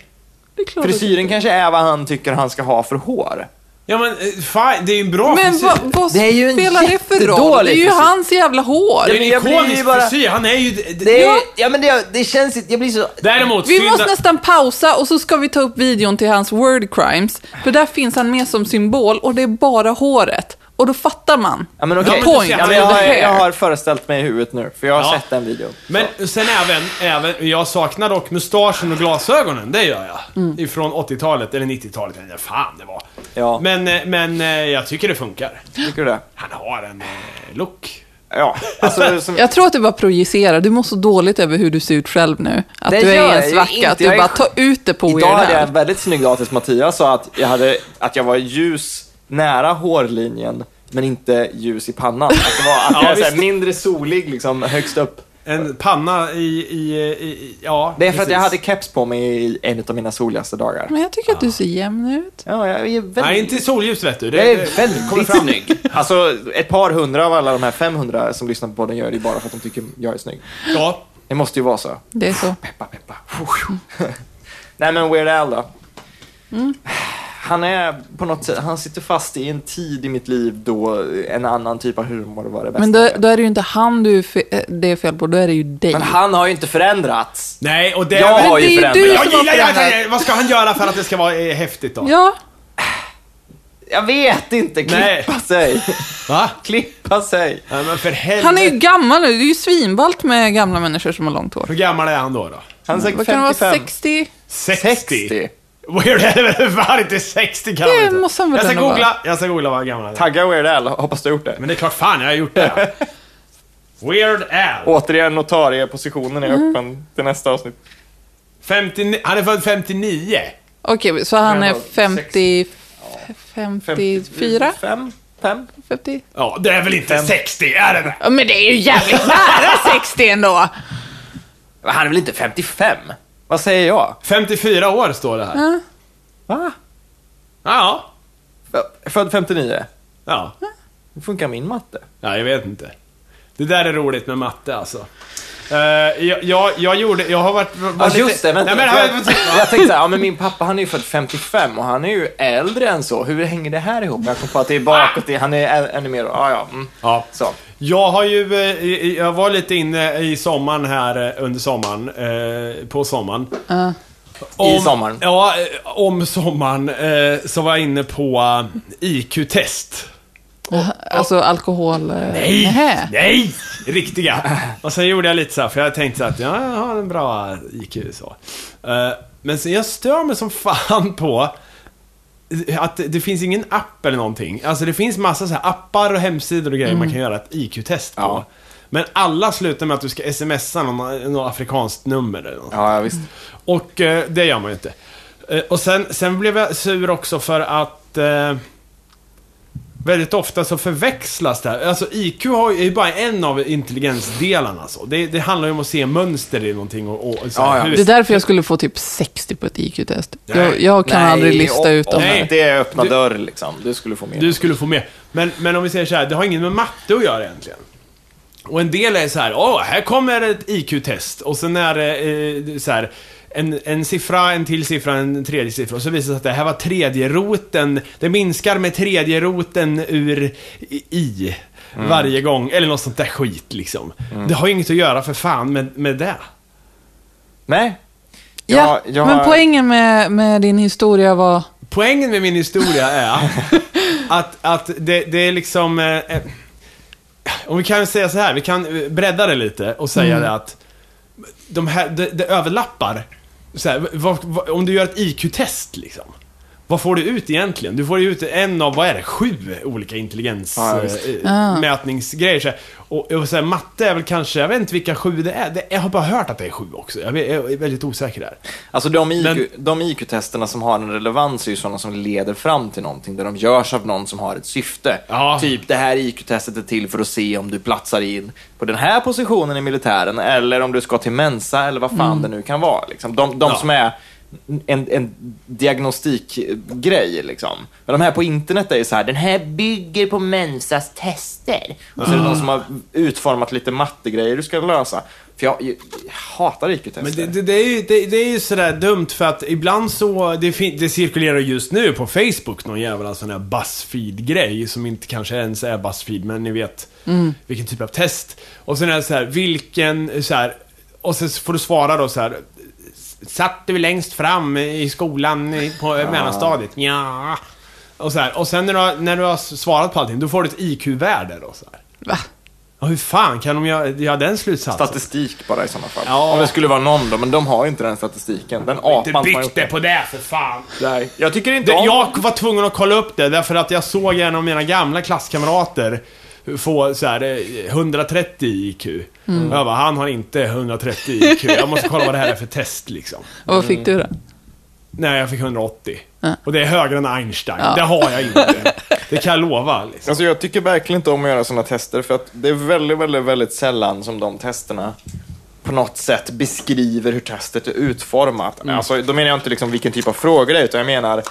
C: Det är klart att-
A: Frisyren kanske är vad han tycker han ska ha för hår.
B: Ja men, eh, fine, det är ju en bra
C: Men
B: frisyr.
C: vad, vad
A: Det är ju en
C: spelar det för roll?
A: jättedålig
C: Det är ju
A: frisyr.
C: hans jävla hår.
B: Det är en
A: Jag blir ju
B: ikonisk
A: bara-
B: frisyr, han är ju... d- d-
A: Det, är,
C: Ja.
A: ja, men det, det känns inte, jag blir så...
B: Däremot,
C: Vi
B: synd
C: måste
B: att-
C: nästan pausa och så ska vi ta upp videon till hans word crimes. För där finns han med som symbol och det är bara håret. Och då fattar man.
A: Ja, men
C: The
A: okej.
C: point
A: Ja, men
C: of
A: jag,
C: the
A: har,
C: hair.
A: jag har föreställt mig i huvudet nu, för jag har
B: Ja.
A: sett den videon.
B: Men sen även, även, jag saknar dock mustaschen och glasögonen, det gör jag.
A: Mm.
B: Ifrån 80-talet, eller 90-talet, jag vet inte fan det var.
A: Ja.
B: Men, eh, men eh, jag tycker det funkar.
A: Tycker du det?
B: Han har en eh, look.
A: Ja. Alltså, som,
C: Jag tror att du bara projicerar. Du mår så dåligt över hur du ser ut själv nu. Att
A: Det gör
C: du är i
A: jag
C: en
A: ju
C: svacka.
A: inte.
C: Att du
A: Jag är
C: bara
A: sj-
C: tar ut det på
A: idag
C: er
A: hade jag
C: här.
A: en väldigt snygg dag tills Mattias sa att jag, hade, att jag var ljus nära hårlinjen, men inte ljus i pannan. Att, det var, att jag är så här,
B: visst.
A: mindre solig liksom, högst upp.
B: En panna i, i, i, i ja.
A: Det är för att jag hade
B: precis.
A: keps på mig i en av mina soligaste dagar.
C: Men jag tycker att du ser jämn ut.
A: Ja, jag är väldigt...
B: Nej, inte i solljus vet du. Det,
A: jag är
B: det- kommer
A: väldigt
B: fram.
A: snygg. Alltså, ett par hundra av alla de här 500 som lyssnar på podden gör det ju bara för att de tycker jag är snygg.
B: Ja.
A: Det måste ju vara så.
C: Det är så.
A: Peppa, peppa. Nej men Weird Al då.
C: Mm.
A: Han är på något sätt, han sitter fast i en tid i mitt liv då en annan typ av humor var det bästa.
C: Men då, då är det ju inte han du fe- eh, det är fel på. Då är det ju dig.
A: men han har ju inte förändrats.
B: Nej, och det...
A: Jag
B: är
A: har
B: väl-
A: ju
C: det är ju
A: förändrats.
C: du
B: jag
C: som har
B: gillar jag,
C: förändrat.
B: Vad ska han göra för att det ska vara eh, häftigt då?
C: Ja,
A: Jag vet inte, klippa
B: Nej.
A: sig.
B: Va?
A: klippa sig.
B: Nej, men för helvete.
C: han är ju gammal nu. Det är ju svinballt med gamla människor som har långt hår.
B: Hur gammal är han då? då?
A: Han är
C: Vad
A: säkert
C: kan det vara?
A: 55.
C: 60?
B: 60?
A: 60.
B: Weird Al var inte 60 kan
C: Det
B: han inte.
C: måste han väl
B: jag ska
C: ändå
B: googla, jag ska googla vad gammal han är.
A: Tagga Weird Al, hoppas du har gjort det.
B: Men det är klart fan jag har gjort det. Weird Al.
A: Återigen, notariepositionen är
C: Mm.
A: öppen till nästa avsnitt.
B: 59, han är född 59.
C: Okej, så han
A: Men
C: är
A: då,
C: 50... 54?
A: 55? 5?
C: 50?
B: Ja, det är väl inte 60, är det det?
C: Ja, men det är ju jävligt nära 60 ändå!
A: Han är väl inte 55? Vad säger jag?
B: 54 år står det här. Ja.
A: Va?
B: Ja.
A: Född 59?
B: ja.
A: Hur funkar min matte?
B: Ja, jag vet inte. Det där är roligt med matte alltså. Eh, jag, jag, jag gjorde, jag har varit...
A: Ja,
B: varit
A: just det. Vänta,
B: Nej, men,
A: jag, jag tänkte såhär, ja men min pappa han är ju född 55 och han är ju äldre än så. Hur hänger det här ihop? Jag kom på att det är bakåt, det- han är ä- ännu mer, ja ja. Mm.
B: ja.
A: Så.
B: Jag har ju, eh, i- jag var lite inne i sommaren här eh, under sommaren, eh, på sommaren.
A: I sommaren.
B: Ja, eh, om sommaren eh, så var jag inne på eh, IQ-test.
C: Alltså alkohol... Nej!
B: Nej! Nej! Riktiga. Och sen gjorde jag lite så här, för jag tänkte så att ja, jag har en bra IQ så. Eh, Men sen jag stör mig som fan på att det- det finns ingen app eller någonting. Alltså det finns massa så här appar och hemsidor och grejer man kan göra ett IQ-test på.
A: Ja.
B: Men alla slutar med att du ska smsa någon, någon afrikanskt nummer eller något.
A: Ja, ja visst.
B: Och eh, det gör man ju inte. Eh, och sen, sen blev jag sur också för att eh, väldigt ofta så förväxlas det här. Alltså IQ har ju, är ju bara en av intelligensdelarna. Så. Det, det handlar ju om att se mönster i någonting och, och så här,
A: Ja, ja.
B: hur-
C: Det är därför jag skulle få typ 60 på ett IQ-test.
B: Nej.
C: Jag, jag kan aldrig lista ut
A: om
C: dem.
B: nej.
A: det.
C: här.
A: Det är öppna
B: Du-
A: dörr liksom. Du skulle få mer.
B: Du skulle få med. Men, men om vi säger så här, det har inget med matte att göra egentligen. Och en del är så här, åh, här kommer ett IQ-test. Och sen är det eh, så här, en, en siffra, en till siffra, en tredje siffra. Och så visar det sig att det här var tredje roten. Det minskar med tredje roten ur i- i varje gång. Eller något sånt där skit liksom. Det har ju inget att göra för fan med, med det.
A: Nej.
C: Ja,
A: Jag- jag-
C: men poängen med, med din historia var...
B: Poängen med min historia är att, att det, det är liksom... eh, Eh, om vi kan säga så här, vi kan eh, bredda det lite och säga det att de här, det, det överlappar. Så här, vad, vad, om du gör ett IQ-test liksom. Vad får du ut egentligen? Du får ju ut en av, vad är det, sju olika
A: Ja, ja, visst.
B: intelligensmätningsgrejer. så här. och och så här, matte är väl kanske, jag vet inte vilka sju det är. Det, jag har bara hört att det är sju också. Jag är, jag är väldigt osäker där.
A: Alltså de, IQ,
B: Men-
A: de IQ-testerna som har en relevans är ju sådana som leder fram till någonting, där de görs av någon som har ett syfte.
B: Ja.
A: Typ, det här IQ-testet är till för att se om du platsar in på den här positionen i militären, eller om du ska till Mensa, eller vad fan det nu kan vara. Liksom. De, de
B: Mm. Ja.
A: som är en, en diagnostikgrej. Liksom. Men de här på internet är ju så här, den här bygger på Mensas tester. Och så är det
B: Ah.
A: någon som har utformat lite mattegrejer du ska lösa. För jag, jag hatar IQ-tester.
B: Men det, det, det, är ju, det, det är ju sådär dumt för att ibland så, det, fin- det cirkulerar just nu på Facebook någon jävla sån här Buzzfeed-grej som inte kanske ens är Buzzfeed, men ni vet vilken typ av test. Och sen är det så här, vilken, så här, och sen får du svara då så här. Satt du längst fram i skolan i- på mellanstadiet? Ja. Och så här, och sen när du, har, när du har svarat på allting, då får du ett IQ-värde då så här.
C: Va?
B: Ja, hur fan kan de göra, göra den slutsatsen?
A: Statistik bara i sådana fall.
B: Ja.
A: Om det skulle vara någon då, men de har ju inte den statistiken. Den apan som
B: inte
A: har gjort
B: byggt det på det för fan.
A: Nej, jag tycker inte
B: Det,
A: om...
B: jag var tvungen att kolla upp det därför att jag såg en av mina gamla klasskamrater få så här, eh, 130 i IQ.
C: Mm.
B: Och jag bara, han har inte 130 i IQ. Jag måste kolla vad det här är för test liksom.
C: Och vad fick du då?
B: Nej, jag fick 180.
C: Ja.
B: Och det är högre än Einstein.
C: Ja.
B: Det har jag inte. Det kan jag lova liksom.
A: Alltså jag tycker verkligen inte om att göra sådana tester för att det är väldigt, väldigt, väldigt sällan som de testerna på något sätt beskriver hur testet är utformat. Alltså, då menar jag inte liksom vilken typ av frågor det är, utan jag menar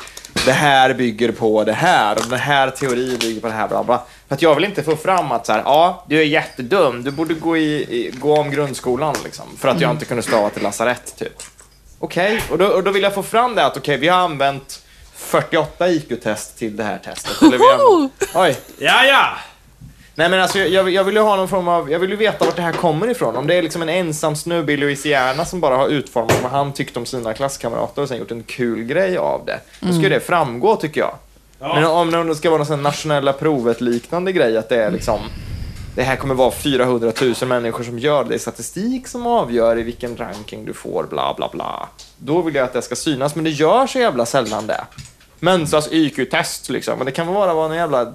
A: det här bygger på det här och den här teorin bygger på det här. Bla bla. För att jag vill inte få fram att så här, ja, du är jättedum, du borde gå, i, i, gå om grundskolan liksom, för att jag inte kunde stava till lasarett. Typ. Okej, och, då, och då vill jag få fram det att okej, vi har använt 48 IQ-test till det här testet. Eller vi har, oj.
B: Ja, ja!
A: Nej men alltså jag- jag, vill- jag vill ju ha någon form av, jag vill ju veta vart det här kommer ifrån. Om det är liksom en ensam snubbe i Louisiana som bara har utformat vad han tyckte om sina klasskamrater och sen gjort en kul grej av det. Då ska ju det framgå tycker jag. Men om, om det ska vara någon sån nationella provet liknande grej, att det är liksom det här kommer vara 400 000 människor som gör det. Det är statistik som avgör i vilken ranking du får, bla bla bla. Då vill jag att det ska synas, men det gör så jävla sällan det. Mensas IQ-test liksom, men det kan väl bara vara någon jävla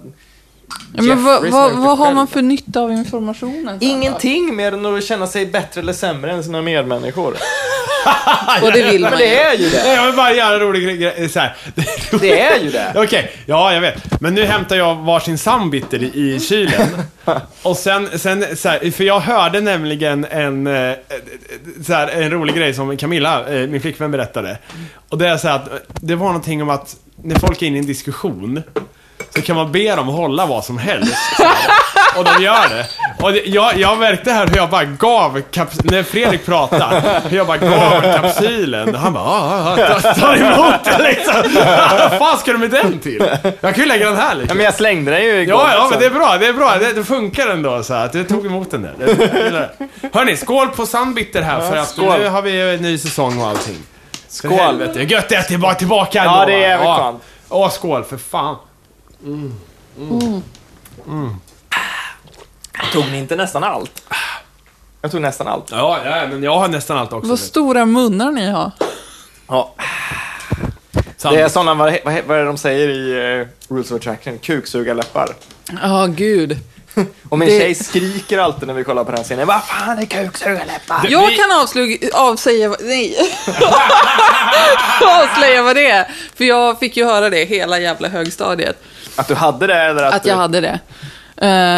C: Ja, men vad,
A: Jeffrey som
C: vad,
A: gjort
C: vad
A: det
C: har man
A: själv.
C: för nytta av informationen? sen då?
A: Ingenting mer än att känna sig bättre eller sämre än sina medmänniskor.
C: Och det vill
A: Men
C: man
A: det
C: ju.
A: är ju det!
B: Nej, jag vill bara göra en rolig grej- grej. Så här.
A: Det är ju det!
B: Okej, ja jag vet. Men nu hämtar jag varsin Sandbitter i, i kylen. Och sen, sen så här, för jag hörde nämligen en, eh, så här, en rolig grej som Camilla, eh, min flickvän, berättade. Och det är så här att, eh, det var någonting om att när folk är inne i en diskussion så kan man be dem hålla vad som helst. Och de gör det. Och det, jag, jag märkte här hur jag bara gav kaps- när Fredrik pratade, hur jag bara gav kapsylen. Och han bara, "Ah, ah, ah, ta, ta emot det liksom. Vad fan ska du med den till? Jag kan ju lägga den här
A: Ja,
B: liksom.
A: men jag slängde den ju igår.
B: Ja, ja, men det är
A: liksom.
B: bra, det är bra. Det, det funkar ändå så här, att du tog emot den där. Det- det- det- Hörni, skål på Sandbitter här för att
A: skål.
B: nu har vi ju en ny säsong och allting. För
A: Skål.
B: helvete, Gött det är att jag bara är tillbaka
A: Ja, det är jävligt skönt.
B: Åh, skål för fan.
A: Tog ni inte nästan allt? Jag tog nästan allt.
B: Ja, ja, men jag har nästan allt också.
C: Vad stora munnar ni har.
A: Ja. Det är sådana, vad, vad, vad är det de säger i eh, Rules of Attraction? Kuksugarläppar.
C: Ja, gud.
A: Och min
C: Det-
A: tjej skriker alltid när vi kollar på den scenen. Vad fan är kuksugarläppar?
C: Jag
B: vi-
C: kan avslug- avsäga... vad- Nej. avslöja vad det är. För jag fick ju höra det hela jävla högstadiet.
A: Att du hade det eller att,
C: Att
A: du...
C: jag hade det.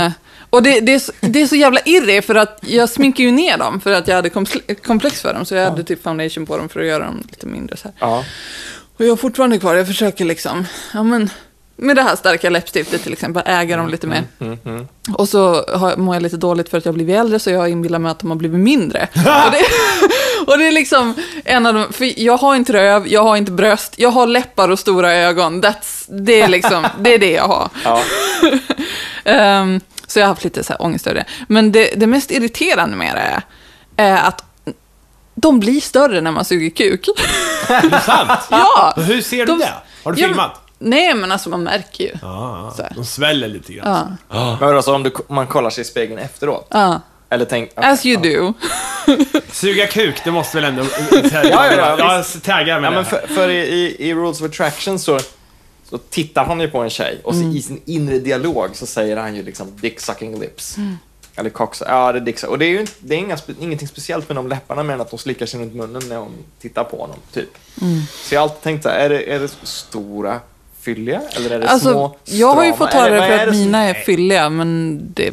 C: Eh, och det, det, är så, det är så jävla irre för att jag sminkar ju ner dem för att jag hade komple- komplex för dem. Så jag hade typ foundation på dem för att göra dem lite mindre så här.
A: Ja.
C: Och jag har fortfarande kvar, jag försöker liksom, ja men, med det här starka läppstiftet till exempel, äga dem lite mer. Och så har, mår jag lite dåligt för att jag har blivit äldre, så jag inbillar mig att de har blivit mindre. och, det, och det är liksom en av de, för jag har inte röv, jag har inte bröst, jag har läppar och stora ögon. That's, det är liksom, det är det jag har.
A: Ja.
C: Ehm, så jag har haft lite så här ångest över det. Men det, det mest irriterande med det är, är att de blir större när man suger kuk.
B: Är det sant?
C: ja!
B: Hur ser du
C: De-
B: det? Har du
C: Ja,
B: filmat?
C: men- Nej, men alltså man märker ju. Ja.
B: Ja,
C: Så
B: ja.
C: här.
B: de sväller lite grann.
C: Ja.
A: Men alltså, om du, om man kollar sig i spegeln efteråt? Eller tänk...
C: As you do.
B: Suga kuk, det måste väl ändå... ja,
A: ja, ja,
B: jag taggar med
A: Ja, men
B: det.
A: för, för i, i, i Rules of Attraction så, så tittar han ju på en tjej och så
C: Mm.
A: i sin inre dialog så säger han ju liksom dick sucking lips.
C: Mm.
A: Eller cox, ja det är dick suck- Och det är ju inte- det är inga, spe- ingenting speciellt med de läpparna mer än att de slickar sig runt munnen när hon tittar på honom. Typ.
C: Mm.
A: Så jag har alltid tänkt så här, är det, är det stora fylliga eller är det
C: Alltså,
A: små
C: jag har ju
A: strama?
C: fått höra
A: Eller vad
C: det
A: är
C: för att
A: som-
C: mina är fylliga, men det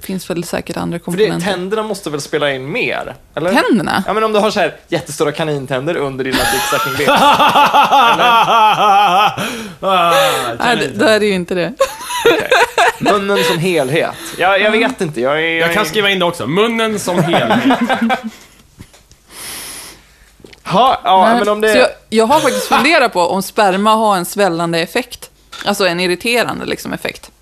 C: finns väl säkert andra
A: För det,
C: komponenter.
A: tänderna måste väl spela in mer? Eller?
C: Tänderna?
A: Ja, men om du har så här jättestora kanintänder under dina dicksucking
B: Ah,
C: Nej, det, det är ju inte det.
A: Munnen som helhet. Jag, jag vet inte. Jag, är- jag,
B: Jag kan
A: är-
B: skriva in det också. Munnen som helhet.
A: Ha, ja,
C: Nej.
A: men om
C: Så jag,
A: det...
C: jag har faktiskt funderat på om sperma har en svällande effekt. Alltså en irriterande liksom, effekt.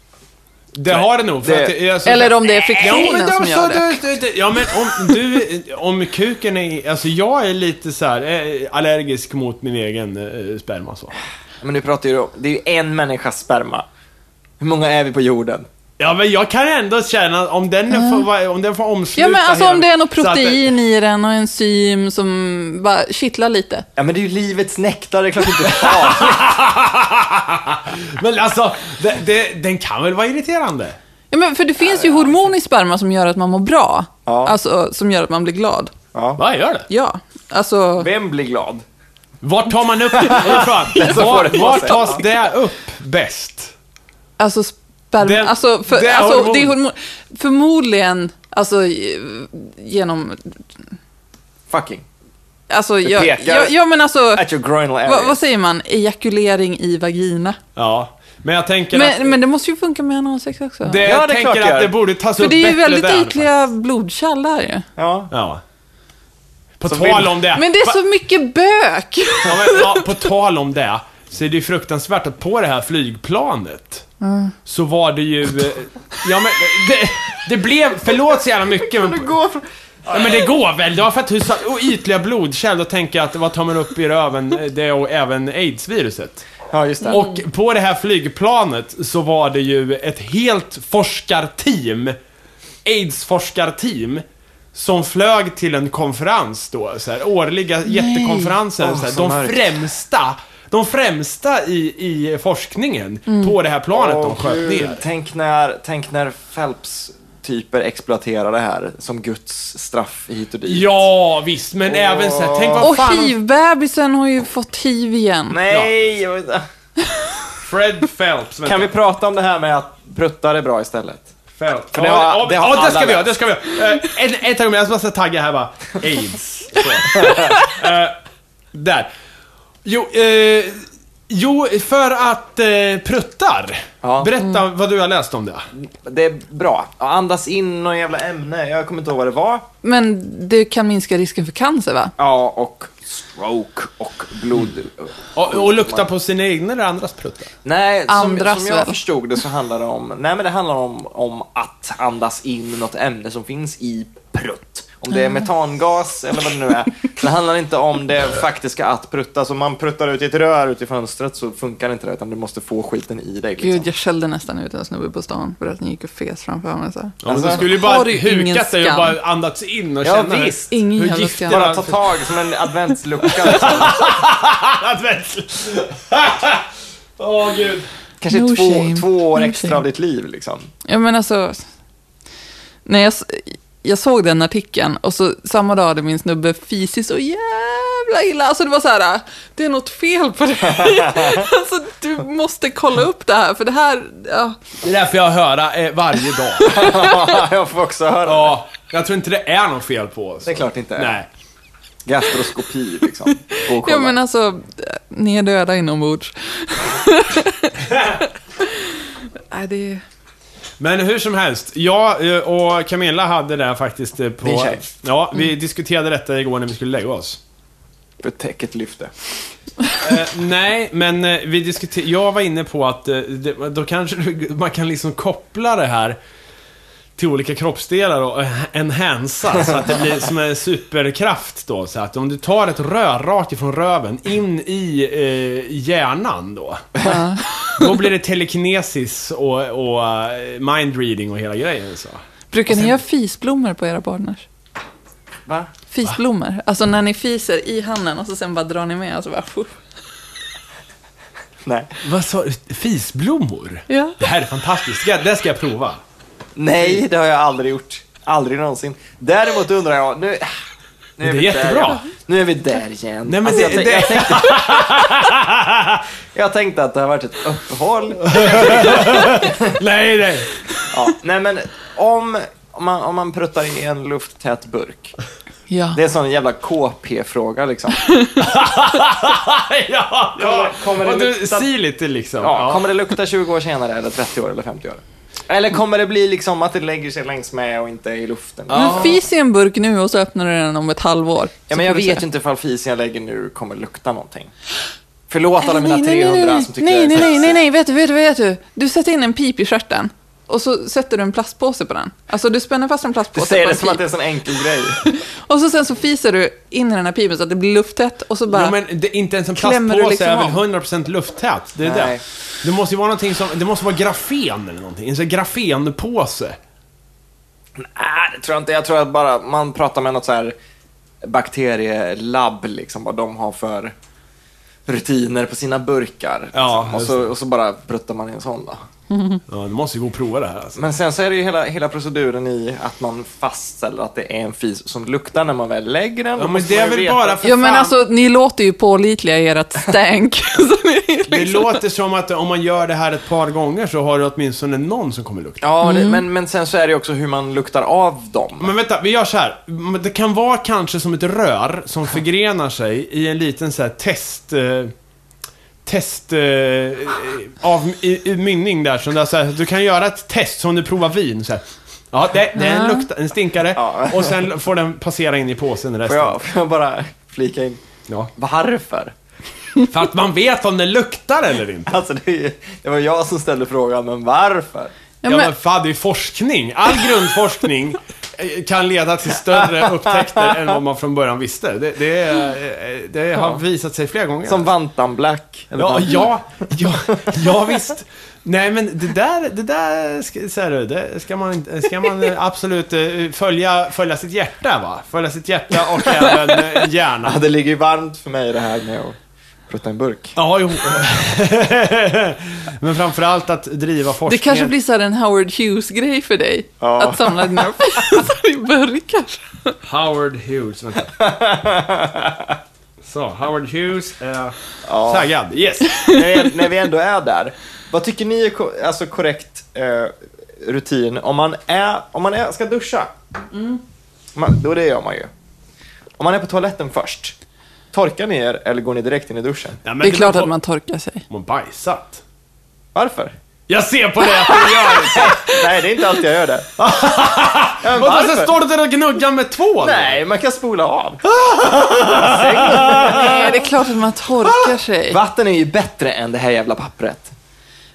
B: Det har det nog. För
A: Det-
B: att, det är så-
C: Eller om det är
B: Jo, men
C: friktionen som
B: alltså,
C: gör det.
B: du- du- du- Ja, men om du... Om kuken är... Alltså jag är lite så här eh, allergisk mot min egen eh, sperma så.
A: Men nu pratar ju om... Det är ju en människas sperma. Hur många är vi på jorden?
B: Ja, men jag kan ändå känna om den får, vara- om den får omsluta
C: Ja, men alltså om
B: hela-
C: det är något
B: så att det-
C: protein i den och enzym som bara kittlar lite.
A: Ja, men det är ju livets nektar. Det är klart inte farligt.
B: Men alltså, det, det, den kan väl vara irriterande?
C: Ja, men för det finns ju hormon i sperma som gör att man mår bra.
A: Ja.
C: Alltså, som gör att man blir glad.
A: Ja.
B: Vad gör det?
C: Ja, alltså...
A: Vem blir glad?
B: Vart tar man upp det ifrån?
A: som får det på
B: Var, var
A: sig.
B: tas det upp bäst?
C: Alltså sperma...
B: Det-
C: alltså, för,
B: det är
C: alltså,
B: hormon.
C: det är hormon. Förmodligen, alltså i- genom...
A: Fucking.
C: Alltså,
A: Det
C: jag,
A: pekar.
C: jag, ja, men alltså...
A: At your groinal area.
C: Vad, vad säger man? Ejakulering i vagina.
B: Ja, men jag tänker
C: Men,
B: att...
C: men det måste ju funka med analsex också.
B: Det,
A: Ja,
B: jag
A: det är
B: tänker
A: klart det gör.
B: att det borde tas
C: för
B: upp
C: det är ju
B: bättre
C: väldigt
B: där,
C: ytliga blodkärl där ju.
A: Ja.
B: Ja. På
A: Som
B: tal
A: vill-
B: om det.
C: Men det är
B: Ah, Va-
C: så mycket bök!
B: ja, men, ja, på tal om det. Så är det ju fruktansvärt att på det här flygplanet så var det ju... eh, Ja men det, det blev... Förlåt så jävla mycket men...
A: Gå från...
B: Ja, men det går väl? Det var för att du sa och ytliga blodkärl, då tänker jag att vad tar man upp i röven? eh, Det och även aidsviruset.
A: Ja, just det.
B: Och på det här flygplanet så var det ju ett helt forskarteam, aidsforskarteam, som flög till en konferens då, så här, årliga jättekonferenser.
A: Åh,
B: så här,
A: så
B: de
A: mörkt.
B: främsta, de främsta i, i forskningen på det här planet de
A: Mm. Åh,
B: sköt
A: Gud.
B: ner.
A: Tänk när, tänk när Phelps typer exploaterar det här som Guds straff hit och dit.
B: Ja, visst, men även så här, tänk vad
C: Och
B: fan...
C: hiv-bebisen har ju fått hiv igen.
A: Nej! jag vet-
B: Fred Phelps, vänta.
A: Kan vi prata om det här med att pruttar är bra istället?
B: Fält.
A: det har-
B: ja,
A: det
B: det,
A: har
B: ja,
A: alla
B: det ska vi göra,
A: läst.
B: det ska vi göra. Eh, en, ett ögonblick, jag måste tagga här bara. Aids. Så. Eh, där. Jo, eh, jo, för att eh, pruttar.
A: Ja.
B: Berätta
C: Mm.
B: vad du har läst om det.
A: Det är bra. Ja, Andas in något jävla ämne. Jag kommer inte ihåg vad det var.
C: Men det kan minska risken för cancer va?
A: Ja, och stroke och blod...
B: Och, och lukta på sina egna eller andras pruttar.
A: Nej, som,
C: Andras
A: som jag
C: väl?
A: förstod det så handlar det om... Nej, men det handlar om, om att andas in något ämne som finns i prutt. Om det är
C: Mm.
A: metangas eller vad det nu är. Det handlar inte om det faktiska att prutta. Så om man pruttar ut i ett rör ut i fönstret så funkar inte det, utan du måste få skiten i dig. Liksom.
C: Gud, jag skällde nästan ut en snubbe på stan för att ni gick och fes framför mig. Så. här.
B: Ja, men
A: Alltså,
B: du skulle ju
C: har
B: bara
C: du ingen
B: hukat dig och
C: skam?
B: bara andats in och
A: Ja,
B: känna hur-
A: visst.
C: Ingen
B: hur
C: jävla
B: giftigt
C: skam.
B: det
A: Bara
B: var.
A: ta tag som en adventslucka. Liksom.
B: Åh gud.
A: Kanske
C: No
A: två,
C: shame.
A: två år
C: No
A: extra
C: shame.
A: av ditt liv. Liksom.
C: Ja men alltså, när jag, s- jag såg den artikeln och så samma dag hade min snubbe fisit så jävla illa. Alltså det var så här, det är något fel på dig. alltså du måste kolla upp det här för det här, ja.
B: Det är därför jag höra eh, varje dag.
A: jag får också höra det.
B: Ja, jag tror inte det är något fel på oss.
A: Det är klart det inte är.
B: Nej.
A: Gastroskopi liksom. Gå och
C: Ja
A: kolla.
C: men alltså, ni är döda inombords. Nej, det är...
B: Men hur som helst, jag eh, och Camilla hade det här faktiskt eh, på...
A: Din tjej.
B: Ja, vi diskuterade detta igår när vi skulle lägga oss.
A: För täcket lyfte.
B: Eh, nej, men eh, vi diskuterade... Jag var inne på att eh, det, då kanske du- man kan liksom koppla det här till olika kroppsdelar och eh, enhansa så att det blir som en superkraft då. Så att om du tar ett rör rakt ifrån röven in i eh, hjärnan då. Då blir det telekinesis och, och eh, mind reading och hela grejen så.
C: Brukar ni göra fisblommor på era partners?
A: Va?
C: Fisblommor? Alltså när ni fiser i handen och så sen bara drar ni med och så bara... Puff.
A: Nej.
B: Vad sa du? Fisblommor?
C: Ja.
B: Det här är fantastiskt. Ska- Det ska jag prova.
A: Nej, det har jag aldrig gjort. Aldrig någonsin. Däremot undrar jag, nu... nu
B: Det är
A: vi där
B: jättebra.
A: igen. Nu är vi där igen.
B: Nej, men
A: Alltså,
B: det-
A: jag, tän-
B: det-
A: jag, tänkte, jag tänkte att det har varit ett uppehåll.
B: Nej, nej.
A: Ja. Nej men, om, om, man, om man pruttar i en lufttät burk.
C: Ja.
A: Det är en sån jävla KP-fråga liksom.
B: ja,
A: Kommer- kommer det
B: och du,
A: lukta-
B: Si lite liksom.
A: Ja, kommer det lukta 20 år senare, eller 30 år, eller 50 år? Eller kommer det bli liksom att det lägger sig längs med och inte i luften?
C: Men fis i en burk nu och så öppnar du den om ett halvår.
A: Ja,
C: Så
A: men jag
C: får du
A: vet
C: se.
A: ju inte ifall fisen jag lägger nu kommer lukta någonting. Förlåt alla mina
C: Nej, nej, nej,
A: 300
C: nej.
A: som tycker
C: Nej,
A: jag är
C: nej, nej, nej, nej, vet du, vet du, vet du. Du sätter in en pip i stjärten och så sätter du en plastpåse på den. Alltså du spänner fast en
A: Du
C: plastpåse
A: säger
C: på
A: det
C: en
A: som att
C: pip.
A: det är en sån enkel grej.
C: Och så sen så fiser du in i den här pipen så att det blir lufttätt och så bara...
B: Jo, men det, inte ens en
C: Klämmer du
B: plastpåse
C: liksom
B: är väl
C: av?
B: 100% lufttät? Det är
A: Nej.
B: det. Det måste ju vara någonting som, det måste vara grafen eller någonting. En sån här grafenpåse.
A: Nej, det tror jag inte. Jag tror att bara man pratar med något så här bakterielabb, liksom, vad de har för rutiner på sina burkar.
B: Ja,
A: liksom. och,
B: just
A: så, och så bara pruttar man i en sån då.
B: Ja, det måste ju gå att prova det här alltså.
A: Men sen så är det ju hela, hela proceduren i att man fastställer att det är en fis som luktar när man väl lägger den. Då
B: Ja, men
A: måste
B: det är
A: man ju
B: väl
A: veta-
B: bara för
C: Ja, men
B: fan.
C: alltså, ni låter ju pålitliga i ert stänk. Så ni liksom-
B: Det låter som att om man gör det här ett par gånger så har du åtminstone någon som kommer lukta.
A: Ja, det, men, men sen så är det ju också hur man luktar av dem.
B: Mm. Men vänta, vi gör så här. Men Det kan vara kanske som ett rör som förgrenar sig i en liten så här test... Eh, test... Eh, av, i, i mynning där. Som där så här, du kan göra ett test som du provar vin. Så här. Ja, det, det är en,
C: Ja.
B: lukta, en stinkare.
A: Ja.
B: Och sen får den passera in i påsen
A: Får
B: resten.
A: jag, får jag bara flika in?
B: Ja.
A: Varför?
B: För att man vet om den luktar eller inte.
A: Alltså, det, är ju- det var jag som ställde frågan, men varför?
C: Ja,
B: Ja, men,
C: men-
B: fan, det är forskning. All grundforskning eh, kan leda till större upptäckter än vad man från början visste. Det, det, är, eh, det har visat sig flera gånger.
A: Som Vantan Black. eller
B: ja,
A: Vantan-
B: ja, ja, ja, visst. Nej, men det där, det där ska, så här, det ska man, inte- ska man eh, absolut eh, följa, följa sitt hjärta, va? Följa sitt hjärta och även eh,
A: Ja,
B: hjärnan.
A: det ligger ju varmt för mig det här med att prutta en burk.
B: Ja, jo. Men framförallt att driva forskningen.
C: Det kanske blir så här en Howard Hughes-grej för dig.
A: Ja.
C: Att samla dina fisar i burkar.
B: Howard Hughes, vänta. Så, Howard Hughes är
A: Ja.
B: taggad. Yes!
A: när, vi, när vi ändå är där, vad tycker ni är ko- alltså korrekt eh, rutin om man, är, om man är, ska duscha? Man, då det gör man ju. Om man är på toaletten först, torkar ni er eller går ni direkt in i duschen?
B: Ja, men
C: Det är klart
B: beror
C: att
B: på-
C: man torkar sig.
B: Man bajsat.
A: Varför?
B: Jag ser på det att du gör det!
A: Nej, det är inte alltid jag gör det. Ja, men
B: Vadå,
A: varför?
B: sen står du där och gnuggar med tvål?
A: Nej, man kan spola av.
C: Nej, det är klart att man
A: Ah!
C: torkar sig.
A: Vatten är ju bättre än det här jävla pappret.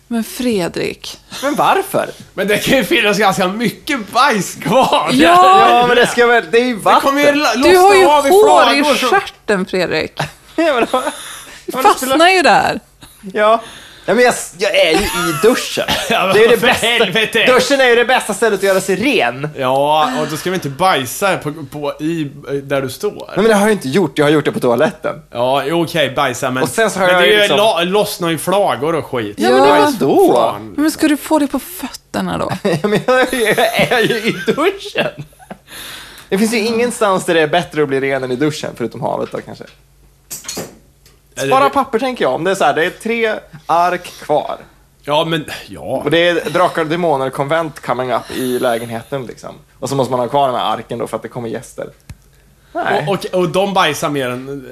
C: Men Fredrik.
A: Men varför?
B: Men det kan ju finnas ganska mycket bajs kvar.
C: Ja,
A: Ja, men det ska väl... Det är ju
B: Det
A: vatten.
B: kommer ju la-
C: Du har ju
B: lossna av
C: hår i
B: flagor som-
C: stjärten, Fredrik.
A: Ja, men då-
C: Du fastnar ju där.
A: Ja. ja men jag, jag är ju i duschen.
B: Ja, men
A: det är ju det
B: för helvete.
A: bästa. Duschen är ju det bästa stället att göra sig ren. Nej,
B: Ja, och då ska vi inte bajsa på, på, i, där du står.
A: men det har jag inte gjort. Jag har gjort det på toaletten.
B: Ja, jo, okej, bajsa men...
A: Och sen så har
B: men
A: jag
B: det är
A: ju
B: ju
A: liksom-
B: lo- lossnar ju flagor och skit.
C: Ja, men det var-
A: Bajs då?
B: Fan.
C: Men ska du få det på fötterna då?
A: Ja, men jag är, ju- jag är ju i duschen. Det finns ju ingenstans där det är bättre att bli ren än i duschen, förutom havet då kanske. Spara papper tänker jag. Om det är så här, det är tre ark kvar.
B: Ja, men... Ja.
A: Och det är drakar och demoner konvent coming up i lägenheten liksom. Och så måste man ha kvar den här arken då för att det kommer gäster. Nej.
B: Och, och, och de bajsar mer än...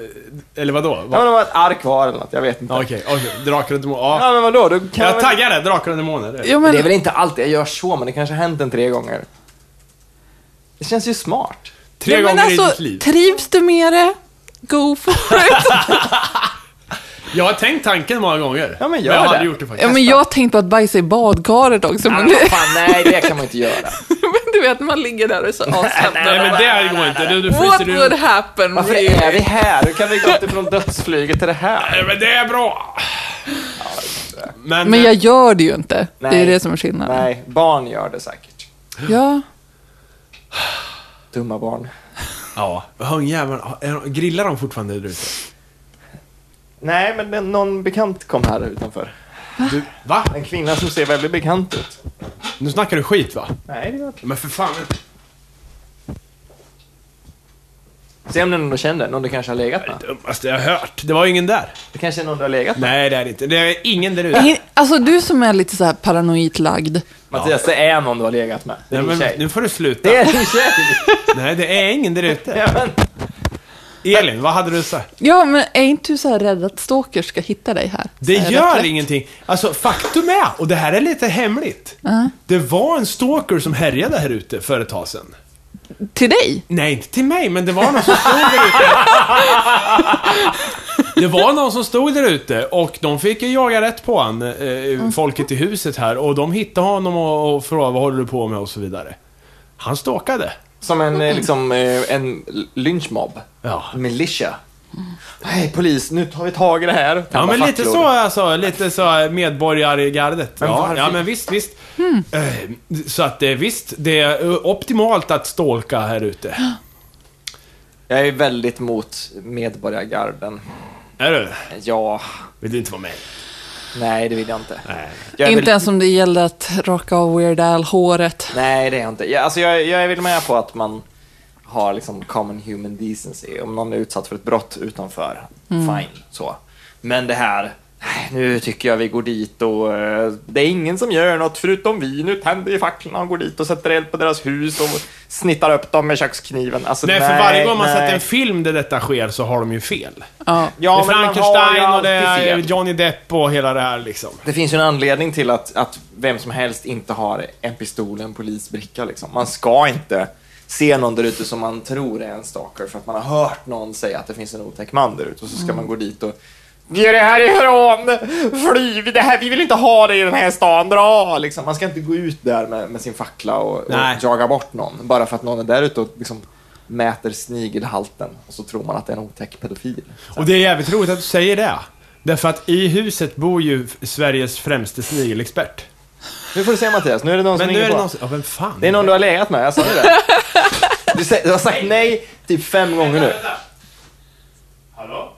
B: Eller vadå? Va?
A: Ja, men de har ett ark kvar eller något, jag vet inte.
B: Ja, Okej, okej. Drakar och demoner. Ja.
A: Ja, men vadå? Du kan
B: Jag
A: väl...
B: taggar det. Drakar och demoner. det är det.
C: Jo,
A: Men Det är väl
C: men,
A: inte alltid jag gör så, men det kanske har hänt en tre gånger. Det känns ju smart.
B: Tre
C: ja, men
B: gånger i ditt
C: alltså,
B: liv.
C: trivs du med det? Go for it.
B: Jag har tänkt tanken många gånger.
A: Ja, men gör
B: jag
A: det.
B: hade gjort det faktiskt.
C: Ja, men jag tänkte på att bajsa i badkaret också. Men,
A: Nej, men fan, nej, det kan man inte göra.
C: men du vet, man ligger där och är så avslappnad.
B: Nej, men det går inte. Du, du
C: What
B: fryser
C: would
B: ur.
C: happen?
A: Varför är vi här? Hur kan vi gått ifrån dödsflyget till det här?
B: Nej, men det är bra. Men,
C: Men jag gör det ju inte. Det
A: Nej.
C: är det som är skillnaden.
A: Nej, barn gör det säkert.
C: Ja.
A: Dumma barn.
B: Ja. Hungjäveln. är de- Grillar de fortfarande där ute?
A: Nej, men det- någon bekant kom här utanför.
B: Du, va?
A: En kvinna som ser väldigt bekant ut.
B: Nu snackar du skit va?
A: Nej, det gör jag inte.
B: Men för fan.
A: Se om det är någon du känner, någon du kanske har legat
B: Det är det
A: med.
B: dummaste jag har hört. Det var ju ingen där.
A: Det kanske är någon du har legat med.
B: Nej, det är det inte. Det är ingen där ute.
C: Ingen, alltså du som är lite så här paranoid lagd.
A: Mattias, det är någon du har legat med. Det är
B: Nej,
A: din
B: men
A: tjej.
B: nu får du sluta.
A: Det är din tjej!
B: Nej, det är ingen där ute.
A: Ja, men,
B: Elin, vad hade du sagt?
C: Ja, men är inte du så här rädd att stalkers ska hitta dig här?
B: Det
C: Så här
B: gör
C: rätt lätt.
B: ingenting. Alltså, faktum är, och det här är lite hemligt. Det var en stalker som härjade här ute för ett tag sedan.
C: Till dig?
B: Nej, inte till mig, men det var någon som stod där ute. Det var någon som stod där ute och de fick ju jaga rätt på han, eh, folket i huset här. Och de hittade honom och, och frågade vad håller du på med och så vidare. Han stalkade.
A: som en, eh, liksom, eh, en lynchmobb.
B: Ja.
A: Militia. Nej, polis, nu tar vi tag i det här.
B: Ja,
A: Tända
B: men lite
A: facklor.
B: så, alltså, lite så medborgare i gardet.
A: Men
B: ja,
A: varför-
B: ja, men visst, visst. Eh, Så att eh, visst, det är eh, optimalt att stalka här ute.
A: Jag är väldigt mot medborgargarden.
B: Är du?
A: Ja,
B: Vill du inte vara med?
A: nej det vill jag inte.
B: Nej.
A: Jag är
C: inte
A: väl-
C: ens om det gällde att raka av Weird Al-håret.
A: Nej, det är jag inte. Jag, alltså, jag, jag är väl med på att man har liksom common human decency. Om någon är utsatt för ett brott utanför, fine. Så. Men det här, nej, nu tycker jag vi går dit och eh, det är ingen som gör något förutom vi. Nu tänder vi facklorna och går dit och sätter eld på deras hus och snittar upp dem med kökskniven. Alltså,
B: Nej, för varje gång man
A: nej.
B: sätter en film där detta sker så har de ju fel.
C: Ja.
A: Ja,
B: det är
A: men man har ju
B: Frankenstein och det
A: alltid
B: är
A: fel.
B: Johnny Depp och hela det här liksom.
A: Det finns ju en anledning till att, att vem som helst inte har en pistol, en polisbricka. Liksom. Man ska inte se någon där ute som man tror är en stalker för att man har hört någon säga att det finns en otäck man där ute och så
B: Mm.
A: ska man gå dit och Ge det härifrån! Fly! Vi- Det här, vi vill inte ha det i den här stan! Dra! Liksom. Man ska inte gå ut där med, med sin fackla och, och
B: Nej.
A: jaga bort någon bara för att någon är där ute och liksom mäter snigelhalten och så tror man att det är en otäck pedofil.
B: Och det är jävligt roligt att du säger det. Därför att i huset bor ju f- Sveriges främste snigelexpert.
A: Nu får du se Mattias, nu är det någon
B: Men
A: som
B: nu
A: ringer
B: är det
A: på.
B: någon som... Ja, vem fan?
A: Det är någon du har legat med, jag sa ju det. Du, sä- du har sagt nej typ fem gånger nu.
B: Hallå?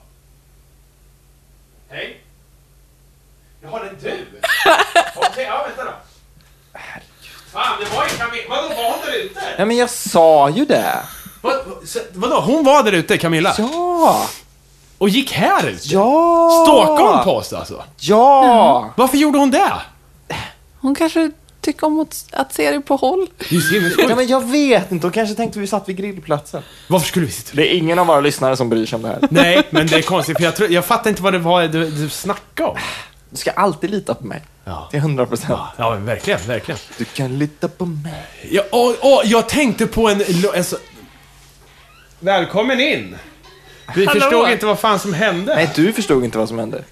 B: Hej? Jaha, det är du? Okej, ja vänta då. Fan, det var ju Camilla. Vadå, var hon där ute?
A: Ja, men jag sa ju det.
B: Vadå, hon var där ute, Camilla?
A: Ja!
B: Och gick här ut?
A: Ja!
B: Stalkade hon på Mm. oss alltså?
A: Ja!
B: Varför gjorde hon det?
C: Hon kanske tycker om att, att se dig på håll.
B: Det är så himla
A: Ja,
B: sjukt.
A: men jag vet inte. Hon kanske tänkte vi satt vid grillplatsen.
B: Varför skulle vi sitta
A: Det är ingen av våra lyssnare som bryr sig om det här.
B: Nej, men det är konstigt för jag, tror, jag fattar inte vad det var du, du snackade om.
A: Du ska alltid lita på mig.
B: Ja.
A: Till 100 procent.
B: Ja, men verkligen, verkligen.
A: Du kan lita på mig.
B: Ja, åh, åh, jag tänkte på en... lo- en så... Välkommen in! Vi förstod inte vad fan som hände.
A: Nej, du förstod inte vad som hände.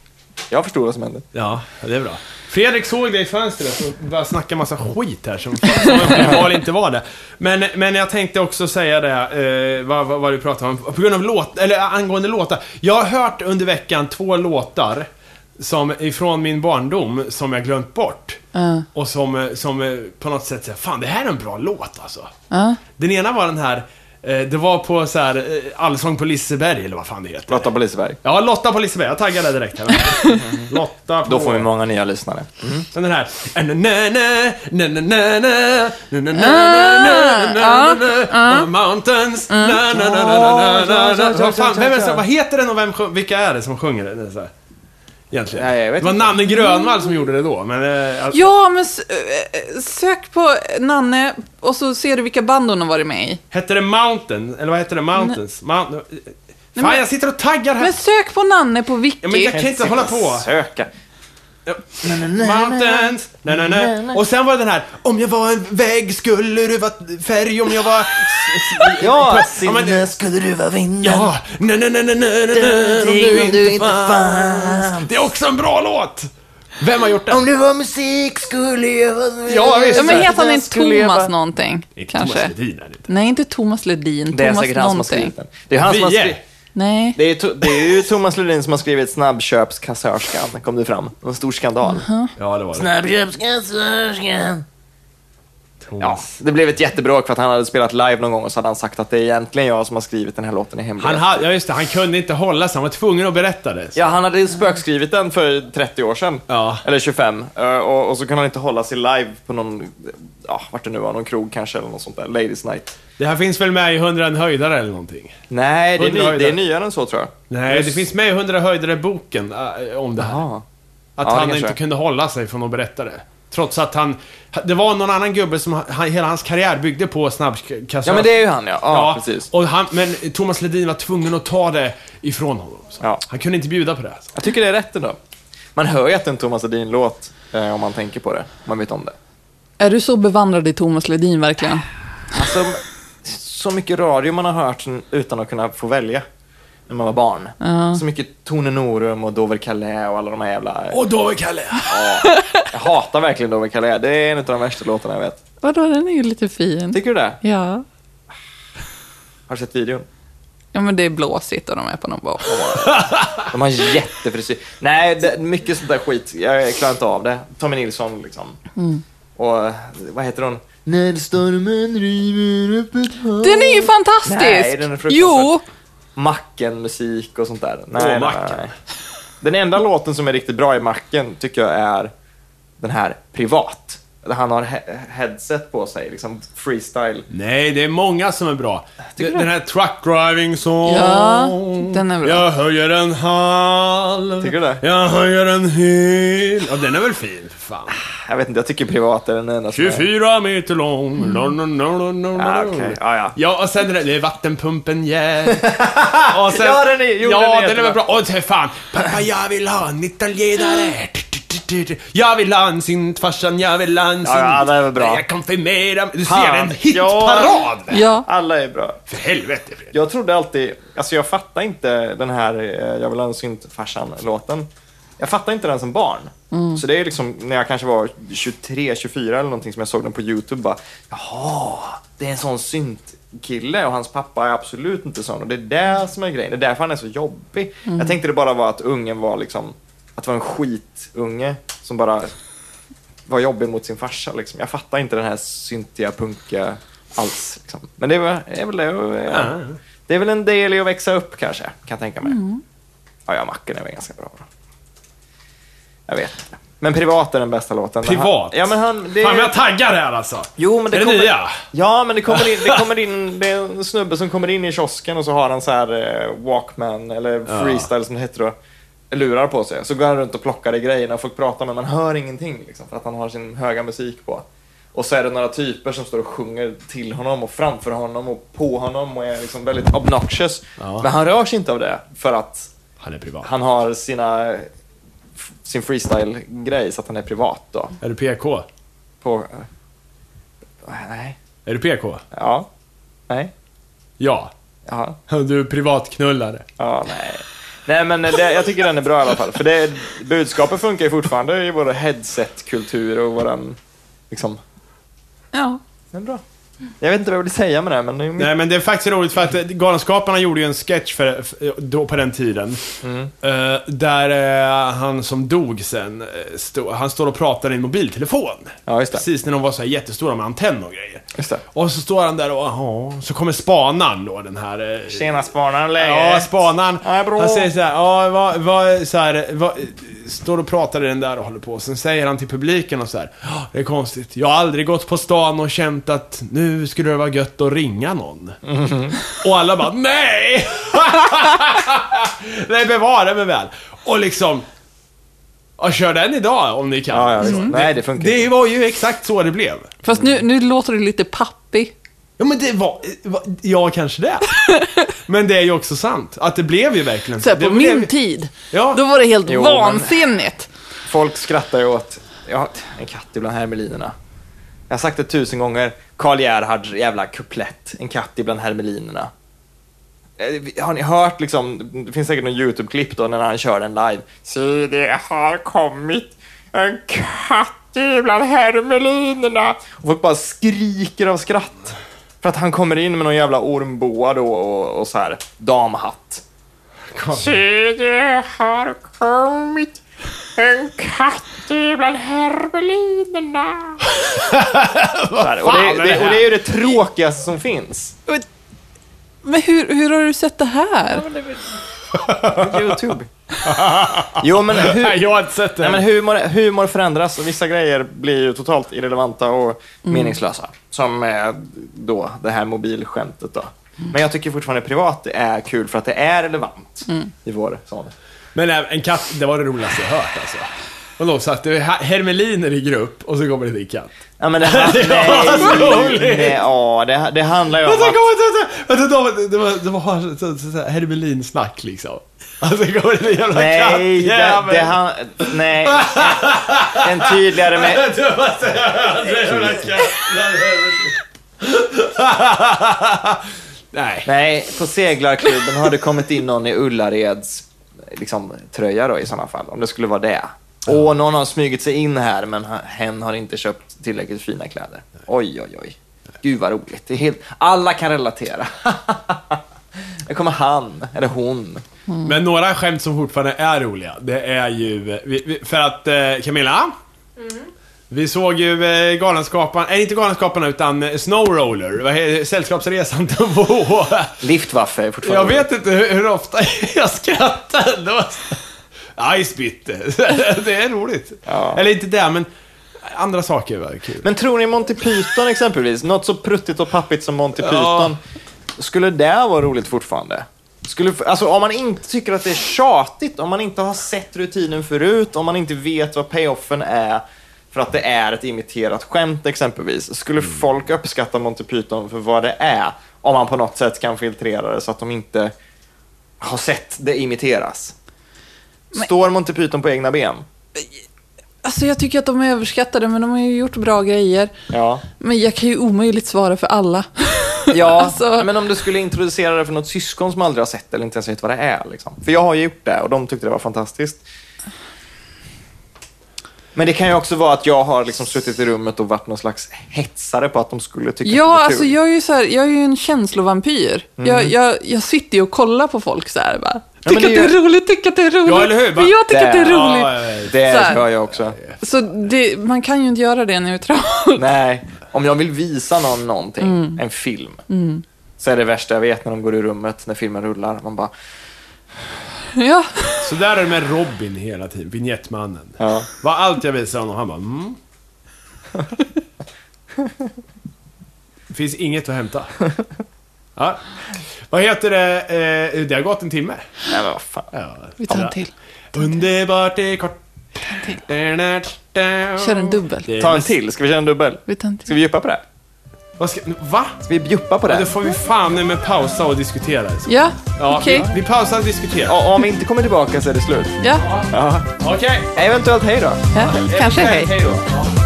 A: Jag förstod vad som hände.
B: Ja, det är bra. Fredrik såg dig i fönstret och började snacka massa skit här som som var eller inte var det. Men, men jag tänkte också säga det, eh, vad, vad, vad du pratade om, på grund av låt, eller eh, angående låtar. Jag har hört under veckan två låtar som ifrån min barndom som jag glömt bort.
C: Ja.
B: Och som, eh, som eh, på något sätt säger, fan det här är en bra låt alltså.
C: Ja.
B: Den ena var den här, eh, det var på så här eh, Allsång på Liseberg eller vad fan det heter.
A: Prata på Liseberg.
B: Ja, Lotta på Liseberg. Jag taggar det direkt här. Lotta på...
A: Då får vi många nya lyssnare.
B: Sen den här... Na-na-na,
C: Ah,
B: na-na-na-na, na-na-na-na, na-na-na-na, on the Mountains, na-na-na-na-na-na. Vad fan, vem är det som- Vad heter den och vem, sjung- vilka är det som sjunger den? Det är så här, Egentligen.
A: Nej, jag vet
B: det var
A: inte.
B: Nanne Grönvall
C: Mm.
B: som gjorde det då, men... eh, alltså-
C: Ja, men s- eh, eh, sök på Nanne och så ser du vilka band hon har varit med i.
B: Hette det Mountain? Eller vad hette det? Mountains? Mount... eh, Fan,
C: men-
B: jag sitter och taggar här.
C: Men sök på Nanne på Wiki.
B: Ja, men jag kan inte hålla på.
A: Söka.
B: Mountains, nej, nej, nej. Och sen var det den här, om jag var en vägg skulle du vara färg, om jag var...
A: Ja,
B: Ja, men-
A: sinne skulle du vara vinnare.
B: Ja, nej, nej, nej, nej, nej, nej, nej, om du inte fanns. Det är också en bra låt! Vem har gjort den?
A: det var musik skulle jag vara
B: Ja, visst.
C: Ja, men heter han
A: Jag
C: inte
A: skulle leva-
C: Thomas någonting?
B: Inte Thomas
C: Kanske.
B: Ledin, är det inte.
C: Nej, inte Thomas Ledin.
A: Det är
C: Thomas
A: säkert han som har skrivit
C: någonting.
A: den. Det är han som har
B: Vi är.
A: skrivit...
C: Nej.
A: Det är, to- det är ju Thomas Lundin som har skrivit Snabbköpskassörskan, kom det fram. En stor skandal.
B: Ja, det var det.
D: Snabbköpskassörskan.
A: Ja,
B: Thomas.
A: det blev ett jättebråk för att han hade spelat live någon gång och så hade han sagt att det är egentligen jag som har skrivit den här låten i hemlighet.
B: Han hade, ja just det, han kunde inte hålla sig, han var tvungen att berätta det.
A: Ja, han hade ju spökskrivit den för 30 år sedan.
B: Ja.
A: Eller 25. Eh, Och, och så kunde han inte hålla sig live på någon, ja, vart det nu var, någon krog kanske eller något sånt där. Ladies night.
B: Det här finns väl med i 100 en höjdare eller någonting?
A: Nej, det är, ny,
B: Underhöjda.
A: det är nyare än så tror jag.
B: Nej, det finns med i 100 höjdare-boken äh, om det här.
A: Ja.
B: Att
A: Ja, det
B: han
A: kanske
B: inte
A: är.
B: kunde hålla sig från att berätta det. Trots Trots att han... Det var någon annan gubbe som han, hela hans karriär byggde på snabbkassör.
A: Ja, men det är ju han ja. Ja, precis.
B: Och han, men Thomas Ledin var tvungen att ta det ifrån honom. Så.
A: Ja.
B: Han kunde inte bjuda på det. alltså. Så.
A: Jag tycker det är rätt ändå. Man hör ju att det är en Thomas Ledin-låt eh, om man tänker på det. Om man vet om det.
C: Är du så bevandrad i Thomas Ledin verkligen?
A: Alltså, så mycket radio man har hört sen- utan att kunna få välja när man var barn. Så mycket Tone Norum och Dover Calais och alla de här jävla...
B: Och då är Kalle!
A: Jag hatar verkligen Dover Calais. Det är en av de värsta låtarna jag vet.
C: Vadå, den är ju lite fin.
A: Tycker du det?
C: Ja.
A: Har du sett videon?
C: Ja, men det är blåsigt och de är på någon bar.
A: De har jättefrisyr. Nej, det, mycket sånt där skit. Jag klarar inte av det. Tommy Nilsson liksom. Och eh, vad heter hon? När stormen river upp ett hav.
C: Den är ju fantastisk!
A: Nej, den är fruktansvärd.
C: jo!
A: Macken-musik och sånt där. Nej,
B: Åh,
A: nej,
B: Macken.
A: nej, nej. Den enda låten som är riktigt bra i Macken tycker jag är den här Privat. Där han har he- headset på sig, liksom freestyle.
B: Nej, det är många som är bra. Den den här Truck Driving Song.
C: Ja, den är bra.
B: Jag höjer en halv.
A: Tycker du det?
B: Jag höjer en hel. Ja, den är väl fin, för fan.
A: Jag vet inte, jag tycker Privat är den enda som är...
B: 24 meter lång. No, no, no, no, no,
A: Ah,
B: no.
A: okej. Mm. Ja, ja.
B: Ja, och sen den där, det är vattenpumpen yeah. Och sen,
A: Ja, den är- jo, den är
B: Ja, den är
A: jättebra.
B: väl bra. Och sen fan, pappa jag vill ha en italienare. Jag vill ha en synt, farsan jag vill ha en synt.
A: Ja, ja, den är väl bra.
B: Jag konfirmerar mig. Du ser,
A: Fan.
B: en hitparad!
C: Ja.
A: Alla är bra.
B: För helvete Fredrik.
A: Jag trodde alltid, alltså jag fattar inte den här eh, Jag vill ha en syntfarsan-låten. Jag fattar inte den som barn. Så det är liksom när jag kanske var 23, 24 eller någonting som jag såg den på YouTube bara Jaha, det är en sån syntkille och hans pappa är absolut inte sån och det är det som är grejen. Det är därför han är så jobbig. Jag tänkte det bara var att ungen var liksom, att det var en skitunge som bara var jobbig mot sin farsa liksom. Jag fattar inte den här syntiga punka alls. Liksom. Men det är väl, är väl det. Ja. Det är väl en del i att växa upp kanske, kan jag tänka mig. Ja, ja, Macken är väl ganska bra. Jag vet inte. Men Privat är den bästa låten. Men
B: Privat?
A: Han, ja, men han... Det,
B: Fan vad jag taggar här alltså.
A: jo, men det
B: är det
A: kommer...
B: nya?
A: Ja, men det kommer, in, det kommer in... Det är en snubbe som kommer in i kiosken och så har han så här eh, Walkman, eller Freestyle som det heter då, lurar på sig. Så går han runt och plockar i grejerna och folk pratar men man hör ingenting liksom, för att han har sin höga musik på. Och så är det några typer som står och sjunger till honom och framför honom och på honom och är liksom väldigt obnoxious.
B: Ja.
A: Men han rör sig inte av det för att
B: Han är privat.
A: han har sina, f- sin freestyle-grej så att han är privat då.
B: Är du PK?
A: På, eh, nej.
B: Är du PK?
A: Ja. Nej.
B: Ja.
A: Ja.
B: Du är privatknullare.
A: Ja, nej. Nej, men det, jag tycker den är bra i alla fall. För det, budskapet funkar ju fortfarande i vår headset-kultur och våran... Liksom,
C: ja.
A: den är bra. Jag vet inte vad jag vill säga med det här, men... Det är mycket,
B: Nej men det är faktiskt roligt för att eh, Galenskaparna gjorde ju en sketch för, för, då på den tiden. Eh, där eh, han som dog sen, eh, stå, han står och pratar i en mobiltelefon.
A: Ja, just det.
B: Precis när de var så här jättestora med antenn och grejer.
A: just det.
B: Och så står han där och aha, så kommer spanaren då den här... eh,
A: Tjena spanaren, läget?
B: Ja, spanaren.
A: Ja, bra.
B: han säger så här, ja, vad, vad, så här, vad, står och pratar i den där och håller på. Sen säger han till publiken och så här, "Ja, det är konstigt. Jag har aldrig gått på stan och känt att nu skulle det vara gött att ringa någon. Och alla bara, nej! nej, bevara mig väl. Och liksom, ja, kör den idag om ni kan.
A: Ja, ja, visst. Nej, det funkar
B: Mm. Det var ju exakt så det blev.
C: Fast nu, nu låter det lite pappig.
B: Ja men det var, var ja kanske det. men det är ju också sant, att det blev ju verkligen
C: Så här,
B: det
C: på
B: blev,
C: min tid,
B: Ja.
C: då var det helt
A: Jo, men-
C: vansinnigt.
A: Folk skrattar ju åt... Ja, en katt ibland hermelinerna. Jag har sagt det tusen gånger. Karl Gerhards jävla kuplett. En katt ibland hermelinerna. Eh, Har ni hört liksom, det finns säkert någon YouTube-klipp då när han kör den live. Se, det har kommit en katt ibland hermelinerna. Och folk bara skriker av skratt. För att han kommer in med någon jävla ormboa då och, och så här damhatt. Se, det har kommit en katt ibland hermelinerna. Så här, och, det,
B: fan är det
A: det, och det är ju det tråkigaste som finns.
C: Men- Men hur, hur har du sett det här?
A: YouTube. jo, men, hu-
B: Nej, jag har inte sett det.
A: nej, men humor, humor förändras och vissa grejer blir ju totalt irrelevanta
B: Mm.
A: och meningslösa. Som eh, då det här mobilskämtet då.
B: Mm.
A: Men jag tycker fortfarande privat är kul för att
B: Mm.
A: det är relevant i vår sån.
B: Men, nej, en katt, det var det roligaste jag hört alltså. Vadå, satt det her- hermeliner i grupp och så kommer det till katt?
A: Ja, men det, här,
B: Det var så
A: nej,
B: roligt.
A: nej, ja, det, det handlar ju om
B: Vänta,
A: att...
B: kom, vänta, vänta, vänta, David, det var, det var så, så, så, så, här hermelinsnack liksom. Och så kommer det en jävla
A: Nej, det,
B: kattjävel.
A: det han, nej. En tydligare med...
B: Det var så här, det jävla katt. Nej.
A: Nej, på seglarklubben har det kommit in någon i Ullareds liksom, tröja då i sådana fall. Om det skulle vara det. Åh, någon har smugit sig in här men h- hen har inte köpt tillräckligt fina kläder. Oj, oj, oj. Gud vad roligt. Det är helt... Alla kan relatera. Där kommer han, eller hon.
B: Men några skämt som fortfarande är roliga, det är ju... eh, vi- vi- För att eh, Camilla? Vi såg ju eh, Galenskaparna, nej inte Galenskaparna utan eh, Snowroller, vad heter det? Sällskapsresan 2.
A: Liftwaffe är fortfarande
B: Jag vet inte hur, hur ofta jag skrattade. Det var så- Icebitte. Det är roligt.
A: Ja.
B: Eller inte det, men andra saker var kul.
A: Men tror ni Monty Python exempelvis, något så pruttigt och pappigt som Monty Python, skulle det vara roligt fortfarande? Skulle, alltså om man inte tycker att det är tjatigt, om man inte har sett rutinen förut, om man inte vet vad payoffen är för att det är ett imiterat skämt exempelvis, skulle folk uppskatta Monty Python för vad det är? Om man på något sätt kan filtrera det så att de inte har sett det imiteras. Står Monty Python på egna ben?
C: Alltså jag tycker att de är överskattade, men de har ju gjort bra grejer.
A: Ja.
C: Men jag kan ju omöjligt svara för alla.
A: Ja,
C: Alltså-
A: men om du skulle introducera det för något syskon som aldrig har sett eller inte ens vet vad det är. Liksom. För jag har ju gjort det och de tyckte det var fantastiskt. Men det kan ju också vara att jag har liksom suttit i rummet och varit någon slags hetsare på att de skulle tycka att det
C: Ja,
A: var
C: alltså
A: kul.
C: jag är ju, så här, jag är ju en känslovampyr. Jag,
B: Mm.
C: jag, jag sitter ju och kollar på folk så här bara.
A: men
C: Tycker
A: det
C: att det
A: är ju-
C: är roligt, tycker att det är roligt.
B: Ja, eller hur?
C: För jag tycker att det är
A: Det-
C: roligt.
B: eh,
A: Det
C: så här.
A: hör jag också.
C: Så det, man kan ju inte göra det neutralt.
A: Nej, om jag vill visa någon någonting,
C: Mm.
A: en film, så är det värsta jag vet när de går i rummet när filmen rullar. Man bara,
C: Ja.
B: Så där är det med Robin hela tiden, vignettmannen.
A: ja.
B: Vad allt jag visar honom, han bara mm. Finns inget att hämta. Ja. Vad heter det? Eh, det har gått en timme.
A: Nej, men vad fan.
B: Ja.
C: Vi tar en till.
B: Underbart är kort.
C: Kör en dubbel.
B: Det är
A: Ta en
B: mest-
A: till, ska vi köra en dubbel?
C: Vi tar en
A: Ska
C: till.
A: vi djupa på det?
B: Vad ska, va?
A: Ska vi djupa på
B: Ja, då
A: det?
B: får vi fan med pausa och diskutera. alltså.
C: Ja,
B: Ja,
C: okej.
B: vi, vi pausar och diskuterar.
A: Och om vi inte kommer tillbaka så är det slut.
C: Ja,
A: Ja.
B: Okej.
A: Eventuellt hej då.
C: ja, kanske hej.
B: då.